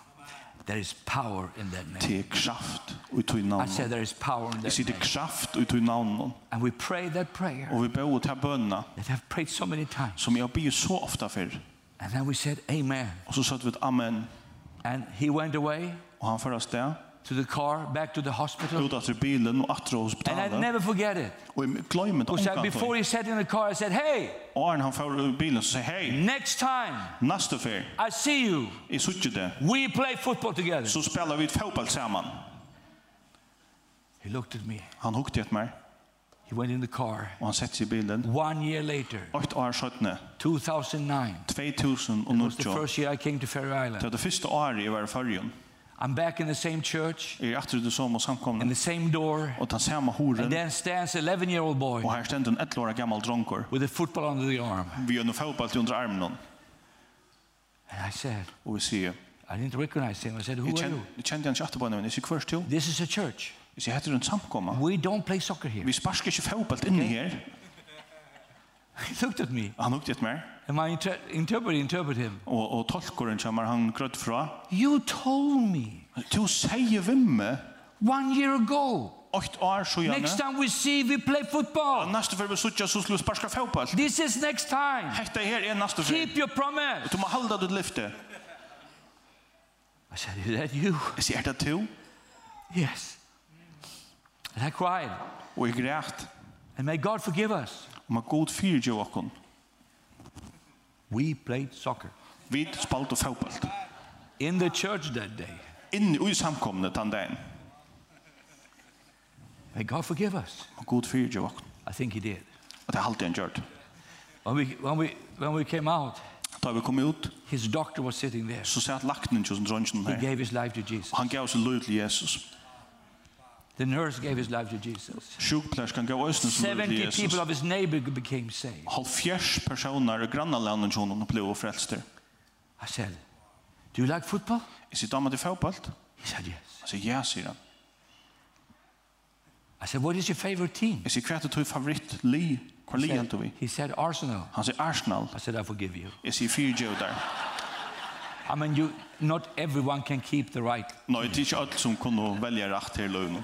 Speaker 2: There is power in that name.
Speaker 3: Til kraft og i tui
Speaker 2: I
Speaker 3: navn.
Speaker 2: said, There is power in
Speaker 3: Jeg
Speaker 2: that
Speaker 3: sier til
Speaker 2: name.
Speaker 3: kraft og i tui navn.
Speaker 2: And we prayed that prayer
Speaker 3: Og vi bau til bønna
Speaker 2: that I've prayed so many times.
Speaker 3: som jeg byr så ofta fyrir.
Speaker 2: And then we said, Amen.
Speaker 3: Og så satt vi et amen.
Speaker 2: And he went away
Speaker 3: Og han fyrir sted.
Speaker 2: to the car, back to the hospital.
Speaker 3: ut etter bilen og
Speaker 2: And
Speaker 3: etter
Speaker 2: I
Speaker 3: hospitalet.
Speaker 2: never forget it.
Speaker 3: Og jeg glemmer det
Speaker 2: Who said,
Speaker 3: omgang
Speaker 2: before
Speaker 3: til.
Speaker 2: he sat in the car, I said, Hey,
Speaker 3: Og Arne han får ut bilen og sier, hei,
Speaker 2: next time
Speaker 3: neste fer,
Speaker 2: I see you,
Speaker 3: jeg sutter det.
Speaker 2: we play football together.
Speaker 3: Så spelar vi et fotball sammen.
Speaker 2: He looked at me.
Speaker 3: Han hukte etter meg,
Speaker 2: He went in the car.
Speaker 3: og han setter seg i bilen.
Speaker 2: One year later,
Speaker 3: 8 år 17,
Speaker 2: 2009, it was the
Speaker 3: 2019.
Speaker 2: first year I came to Faroe
Speaker 3: Det
Speaker 2: Island.
Speaker 3: er var det første året jeg var i fargen.
Speaker 2: I'm back in the same church,
Speaker 3: Jeg er etter det som og
Speaker 2: in
Speaker 3: samkomne.
Speaker 2: the same door,
Speaker 3: Og den samme
Speaker 2: and
Speaker 3: horen.
Speaker 2: there stands 11 year old boy
Speaker 3: Og her stender en 11 år gammel dronker.
Speaker 2: with a football under the arm.
Speaker 3: Vi gjør noe fotball til under armen. hon.
Speaker 2: And I said,
Speaker 3: Og vi sier,
Speaker 2: I didn't recognize him. I said, Who
Speaker 3: jeg
Speaker 2: are
Speaker 3: kjen-
Speaker 2: you?
Speaker 3: jeg kjente han ikke etterpå, men jeg sier hver til.
Speaker 2: This is a church.
Speaker 3: Jeg sier, heter det en samkomne?
Speaker 2: We don't play soccer here.
Speaker 3: Vi sparsker ikke fotball inni her.
Speaker 2: He looked at me,
Speaker 3: Han hukte etter meg.
Speaker 2: and my inter- interpreter interpreted him.
Speaker 3: Og, og tolkeren kommer han grøtt fra.
Speaker 2: You told me
Speaker 3: Du sier vimme,
Speaker 2: one year ago,
Speaker 3: 8 år så
Speaker 2: next
Speaker 3: gjerne.
Speaker 2: time we see, we play football.
Speaker 3: Næste før vi suttja, så skulle vi sparska fotball.
Speaker 2: This is next time.
Speaker 3: Hette her er næste før.
Speaker 2: Keep your promise.
Speaker 3: Du må halda ditt lyfte.
Speaker 2: I said, Is that you?
Speaker 3: Jeg sier, er det to?
Speaker 2: Yes. And I cried.
Speaker 3: Og jeg greit.
Speaker 2: And may God forgive us.
Speaker 3: Og man god fyrir jo okkon.
Speaker 2: We played soccer
Speaker 3: Vi spalt og fotball.
Speaker 2: in the church that day.
Speaker 3: Inni ui samkomne den dagen.
Speaker 2: May God forgive us.
Speaker 3: Og god fyrir jo okkon.
Speaker 2: I think He did.
Speaker 3: Og det er alltid han gjørt.
Speaker 2: When we, when we, when we came out,
Speaker 3: Da vi kom ut,
Speaker 2: his doctor was sitting there.
Speaker 3: så sier at lakten ikke som dronjen
Speaker 2: He
Speaker 3: her.
Speaker 2: gave his life to Jesus.
Speaker 3: Han gav sin løy til Jesus.
Speaker 2: The nurse gave his life to Jesus.
Speaker 3: Sjukplerskan gav øyne sin løy til
Speaker 2: 70
Speaker 3: Jesus.
Speaker 2: people of his neighbor became saved.
Speaker 3: Halvfjers personer i grannalanden som hun ble frelster.
Speaker 2: I said, Do you like football?
Speaker 3: Jeg sier, damer til fotball?
Speaker 2: He said, Yes.
Speaker 3: Han sier, ja, sier han.
Speaker 2: I said, What is your favorite team?
Speaker 3: Jeg sier, hva er det tog favoritt li? Hva li heldur vi?
Speaker 2: He said, Arsenal.
Speaker 3: Han sier, Arsenal.
Speaker 2: I said, I forgive you.
Speaker 3: Jeg sier, fyr jo der.
Speaker 2: I mean, you, not everyone can keep the right,
Speaker 3: Nei, det er ikke alt som kunne velge rett her løy nå.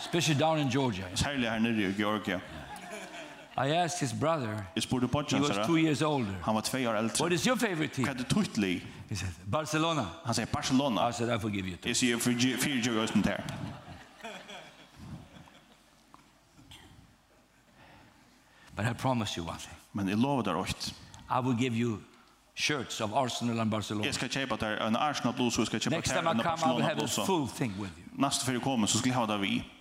Speaker 2: especially down in Georgia.
Speaker 3: Særlig her nere i Georgia.
Speaker 2: I asked his brother,
Speaker 3: Jeg spurte
Speaker 2: he
Speaker 3: Bodjan,
Speaker 2: was
Speaker 3: sier
Speaker 2: two
Speaker 3: han.
Speaker 2: years older,
Speaker 3: Han var tvei år
Speaker 2: What
Speaker 3: eldre.
Speaker 2: is your favorite
Speaker 3: Hva
Speaker 2: team?
Speaker 3: er det tog li?
Speaker 2: He said, Barcelona.
Speaker 3: Han sier,
Speaker 2: I
Speaker 3: Barcelona.
Speaker 2: said, I forgive you. Too.
Speaker 3: Jeg sier, fyr jo øyne der.
Speaker 2: But I promise you one thing.
Speaker 3: Men jeg lover der åkt.
Speaker 2: I will give you shirts of Arsenal and Barcelona.
Speaker 3: Jeg skal kjøpe der en Arsenal-blås, og jeg skal kjøpe
Speaker 2: Next time
Speaker 3: der
Speaker 2: I
Speaker 3: en
Speaker 2: come, I will have a
Speaker 3: Barcelona-blås.
Speaker 2: full thing with you.
Speaker 3: Neste før jeg kommer, så skal jeg ha det vi.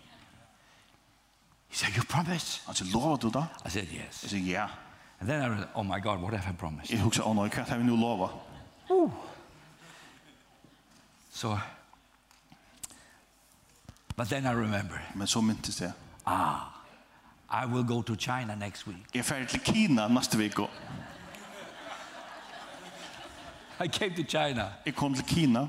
Speaker 2: He said, You promise?
Speaker 3: Han sier, lover du da?
Speaker 2: I said, Yes.
Speaker 3: Jeg sier, ja.
Speaker 2: And then I realized, Oh my God, what have I promised?
Speaker 3: Jeg husker, å nei, hva har vi nå lova?
Speaker 2: So, but then I remember,
Speaker 3: Men så myntes det.
Speaker 2: I will go to China next week.
Speaker 3: Jeg ferdig til Kina neste vik.
Speaker 2: I came to China.
Speaker 3: Jeg kom til Kina,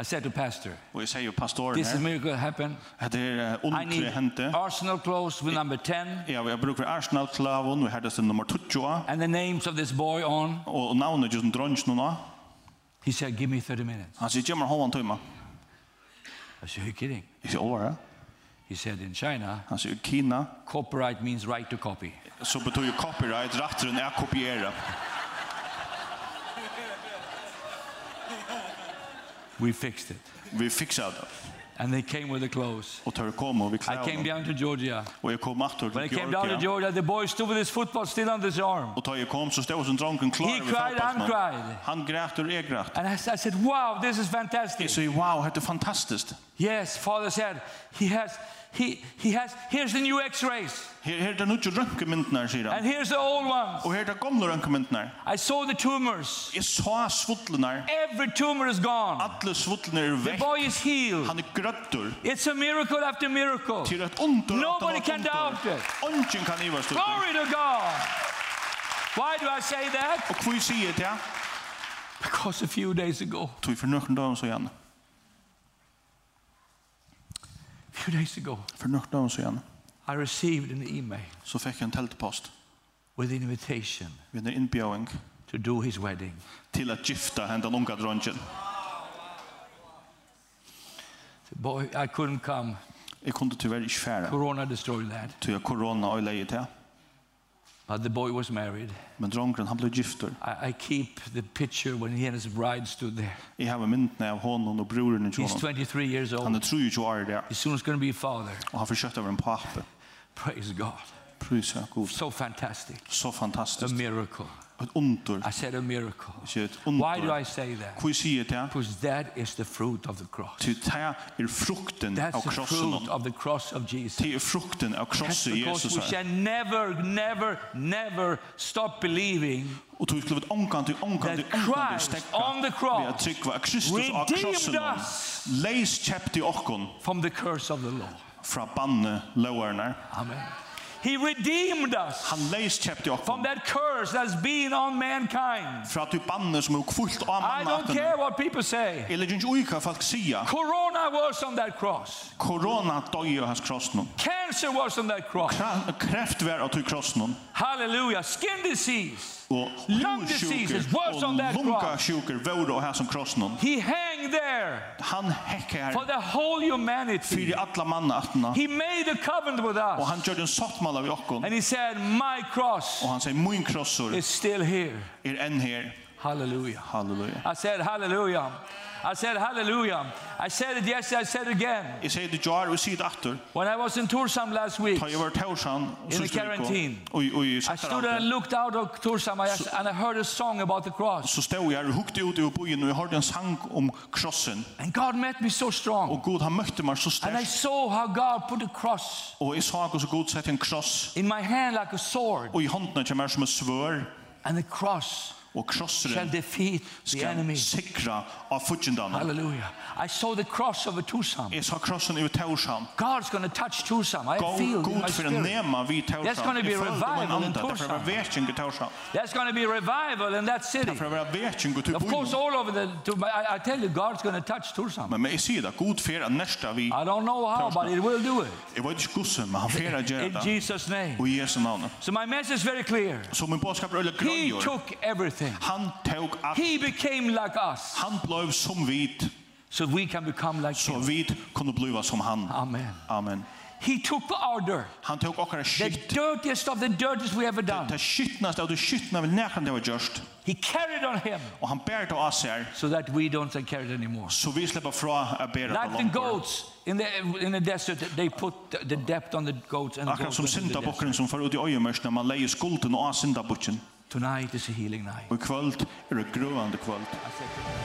Speaker 2: I said to Pastor,
Speaker 3: og jeg sier jo pastoren
Speaker 2: This is
Speaker 3: her.
Speaker 2: miracle happened.
Speaker 3: At det er
Speaker 2: I
Speaker 3: ondklig
Speaker 2: need Ah.
Speaker 3: hente.
Speaker 2: Arsenal clothes with number 10
Speaker 3: Ja, jeg bruker Arsenal-klavon, vi hadde sin nummer 20 av.
Speaker 2: and the names of this boy on.
Speaker 3: Og navnet just en dronj nå nå.
Speaker 2: He said, Give me 30 minutes.
Speaker 3: Han sier, Gjemmer hovan tøyma.
Speaker 2: I said, Are you kidding?
Speaker 3: Jeg sier, åra.
Speaker 2: He said, In China,
Speaker 3: Han sier, Kina,
Speaker 2: copyright means right to copy.
Speaker 3: så betyr jo copyright, ratteren er kopiera.
Speaker 2: We fixed it.
Speaker 3: Vi fiksa det.
Speaker 2: And they came with the clothes.
Speaker 3: Og tør kom, og vi
Speaker 2: I came
Speaker 3: klæder.
Speaker 2: down to Georgia.
Speaker 3: Og jeg kom aftur
Speaker 2: When I
Speaker 3: til
Speaker 2: came down to
Speaker 3: Georgia.
Speaker 2: Georgia, the boy stood with his football still on his arm.
Speaker 3: Og da jeg kom, så stod som dronken klar
Speaker 2: He cried, I'm cried.
Speaker 3: Han grät og jeg grät.
Speaker 2: And I, s- I said, Wow, this is fantastic.
Speaker 3: Jeg sier, wow, dette er fantastiskt.
Speaker 2: Yes, father said, He has, he, he has, here's the new x rays,
Speaker 3: Her, her er det nødt til rønkemyndene, sier han.
Speaker 2: and here's the old ones.
Speaker 3: Og her er det gamle rønkemyndene.
Speaker 2: I saw the tumors.
Speaker 3: Jeg sa svudlene.
Speaker 2: Every tumor is gone.
Speaker 3: Alle svudlene er
Speaker 2: The
Speaker 3: vekk.
Speaker 2: boy is healed.
Speaker 3: Han er grøttur.
Speaker 2: It's a miracle after miracle.
Speaker 3: Til et under.
Speaker 2: Nobody can doubt it.
Speaker 3: Ongen kan iva stå.
Speaker 2: Glory to God. Why do I say that?
Speaker 3: Og hvor sier jeg det?
Speaker 2: Because a few days ago,
Speaker 3: Tog for nøkken dagen så igjen.
Speaker 2: a few days ago,
Speaker 3: For nøkken dagen så igjen.
Speaker 2: I received an email
Speaker 3: Så fikk jeg en teltpost.
Speaker 2: with an invitation
Speaker 3: Vi er innbjøring
Speaker 2: to do his wedding.
Speaker 3: til at gifta henne den unga dronjen.
Speaker 2: The boy, I couldn't come.
Speaker 3: Jeg kunne tyvärr ikke fære.
Speaker 2: Corona destroyed that.
Speaker 3: Tog jeg korona og leie til.
Speaker 2: But the boy was married.
Speaker 3: Men dronken, han ble gifter.
Speaker 2: I, I keep the picture when he and his bride stood there.
Speaker 3: Jeg har myndene av honom og broren i
Speaker 2: He's
Speaker 3: honom.
Speaker 2: 23 years
Speaker 3: Han
Speaker 2: old.
Speaker 3: er 23 år der,
Speaker 2: He's soon going to be a father.
Speaker 3: og han forsøkte over en pape.
Speaker 2: Praise God.
Speaker 3: Prøys er god.
Speaker 2: So fantastic.
Speaker 3: Så
Speaker 2: A
Speaker 3: fantastisk.
Speaker 2: miracle.
Speaker 3: ett under.
Speaker 2: I said a miracle.
Speaker 3: Jag säger ett
Speaker 2: Why do I
Speaker 3: under.
Speaker 2: say that?
Speaker 3: Hur säger det?
Speaker 2: Because that is the fruit of the cross.
Speaker 3: Till det är frukten
Speaker 2: That's
Speaker 3: av
Speaker 2: the fruit
Speaker 3: krossen.
Speaker 2: of the cross of Jesus.
Speaker 3: Det är frukten av
Speaker 2: That's
Speaker 3: krossen
Speaker 2: because we
Speaker 3: Jesus.
Speaker 2: shall never, never, never stop believing
Speaker 3: Och du skulle vara omkant till omkant till
Speaker 2: that
Speaker 3: omkant
Speaker 2: Christ
Speaker 3: till stäcka.
Speaker 2: on the cross
Speaker 3: Vi har tryckt vad Kristus av
Speaker 2: redeemed
Speaker 3: krossen.
Speaker 2: us.
Speaker 3: Leis käppt i okkon
Speaker 2: from the curse of the law.
Speaker 3: fra banne lovarna.
Speaker 2: Amen. He redeemed us
Speaker 3: Han leis käppt i
Speaker 2: from
Speaker 3: okkon
Speaker 2: that curse that's been on mankind.
Speaker 3: fra du banne som er kvult av
Speaker 2: I don't
Speaker 3: mannaten.
Speaker 2: care what people say.
Speaker 3: Eller ikke uika folk sia.
Speaker 2: Corona was on that cross.
Speaker 3: Corona døy av hans krossen.
Speaker 2: Cancer was on that cross.
Speaker 3: Kreft vær av tu krossen.
Speaker 2: Hallelujah. Skin disease.
Speaker 3: Og
Speaker 2: Lung diseases was on that cross.
Speaker 3: lungasjuker vore og hans om krossen.
Speaker 2: He hang there
Speaker 3: Han hekker
Speaker 2: for
Speaker 3: her
Speaker 2: the whole humanity.
Speaker 3: fyrir alla manna atna.
Speaker 2: He made a covenant with
Speaker 3: Og
Speaker 2: us.
Speaker 3: han gjør en sottmal av okkon.
Speaker 2: And he said, My cross
Speaker 3: Og han sier, min krossor
Speaker 2: is still here.
Speaker 3: er enn her.
Speaker 2: Hallelujah.
Speaker 3: Halleluja.
Speaker 2: I said, Hallelujah. I said, Hallelujah. I said it yesterday. I said it again.
Speaker 3: Jeg sier det jar og sier det atter.
Speaker 2: When I was in Tursam last week,
Speaker 3: Ta jeg var tausan og
Speaker 2: In the
Speaker 3: sørste viko,
Speaker 2: quarantine.
Speaker 3: og- Og i
Speaker 2: I stood and I
Speaker 3: Sattaralta.
Speaker 2: looked out of Tursam I- and I heard a song about the cross.
Speaker 3: Så stod jeg og hukte ut i bojen og jeg hørte en sang om krossen.
Speaker 2: And God met me so strong.
Speaker 3: Og Gud han møtte meg så
Speaker 2: And I
Speaker 3: sterkt.
Speaker 2: saw how God put a cross
Speaker 3: Og jeg sa hvordan Gud sette en kross.
Speaker 2: in my hand like a sword.
Speaker 3: Og i hånden kommer som en svør.
Speaker 2: And the cross
Speaker 3: Og
Speaker 2: shall
Speaker 3: krosseren
Speaker 2: defeat the
Speaker 3: skal
Speaker 2: enemy.
Speaker 3: sikra av fudgjendana.
Speaker 2: Hallelujah. I saw the cross of a Tursam.
Speaker 3: Jeg sa krossen i tausan.
Speaker 2: God's going to touch Tursam. I feel it in my
Speaker 3: Gud for en
Speaker 2: spirit.
Speaker 3: nema vi tausan.
Speaker 2: There's gonna be
Speaker 3: Jeg følte om en
Speaker 2: revival in
Speaker 3: anda. Derfor var
Speaker 2: Tórshavn.
Speaker 3: vekking i tausan.
Speaker 2: There's going to be revival in that city.
Speaker 3: Derfor var vekking i til
Speaker 2: Of course,
Speaker 3: bojen.
Speaker 2: all over the. To, I, I tell you, God's going to touch Tursam.
Speaker 3: Men men jeg sier det, Gud fer at nesta vi.
Speaker 2: I don't know how, but it will do it.
Speaker 3: Jeg vet ikke gusse, men han fer at
Speaker 2: In
Speaker 3: gjøre det.
Speaker 2: Jesus' name.
Speaker 3: Og i Jesu navn.
Speaker 2: So my message is very clear.
Speaker 3: Så min påskap er øyla
Speaker 2: He
Speaker 3: grønjord.
Speaker 2: took everything.
Speaker 3: Han tåg at
Speaker 2: He became like us,
Speaker 3: han bløv som vit,
Speaker 2: so we can become like
Speaker 3: så
Speaker 2: him.
Speaker 3: vit kunne bliva som han.
Speaker 2: Amen.
Speaker 3: Amen.
Speaker 2: He took our dirt,
Speaker 3: Han tåg okkara
Speaker 2: the
Speaker 3: skitt.
Speaker 2: dirtiest of the dirtiest we ever done.
Speaker 3: Det skittnast av det skittna vil nekran det var gjørst.
Speaker 2: He carried on him,
Speaker 3: Og han bærer det av seg,
Speaker 2: so that we don't carry it anymore.
Speaker 3: så vi slipper fra å bære det
Speaker 2: Like the
Speaker 3: langt.
Speaker 2: goats in the in the desert, they put the- the debt on the goats and the
Speaker 3: Akkurat
Speaker 2: goats
Speaker 3: som
Speaker 2: went in the desert.
Speaker 3: syndabukken som får ut i øyemørsene, man leier skulden og av syndabukken.
Speaker 2: Tonight is a healing night.
Speaker 3: Og i kvöld er det grøvande kvöld.
Speaker 2: I said-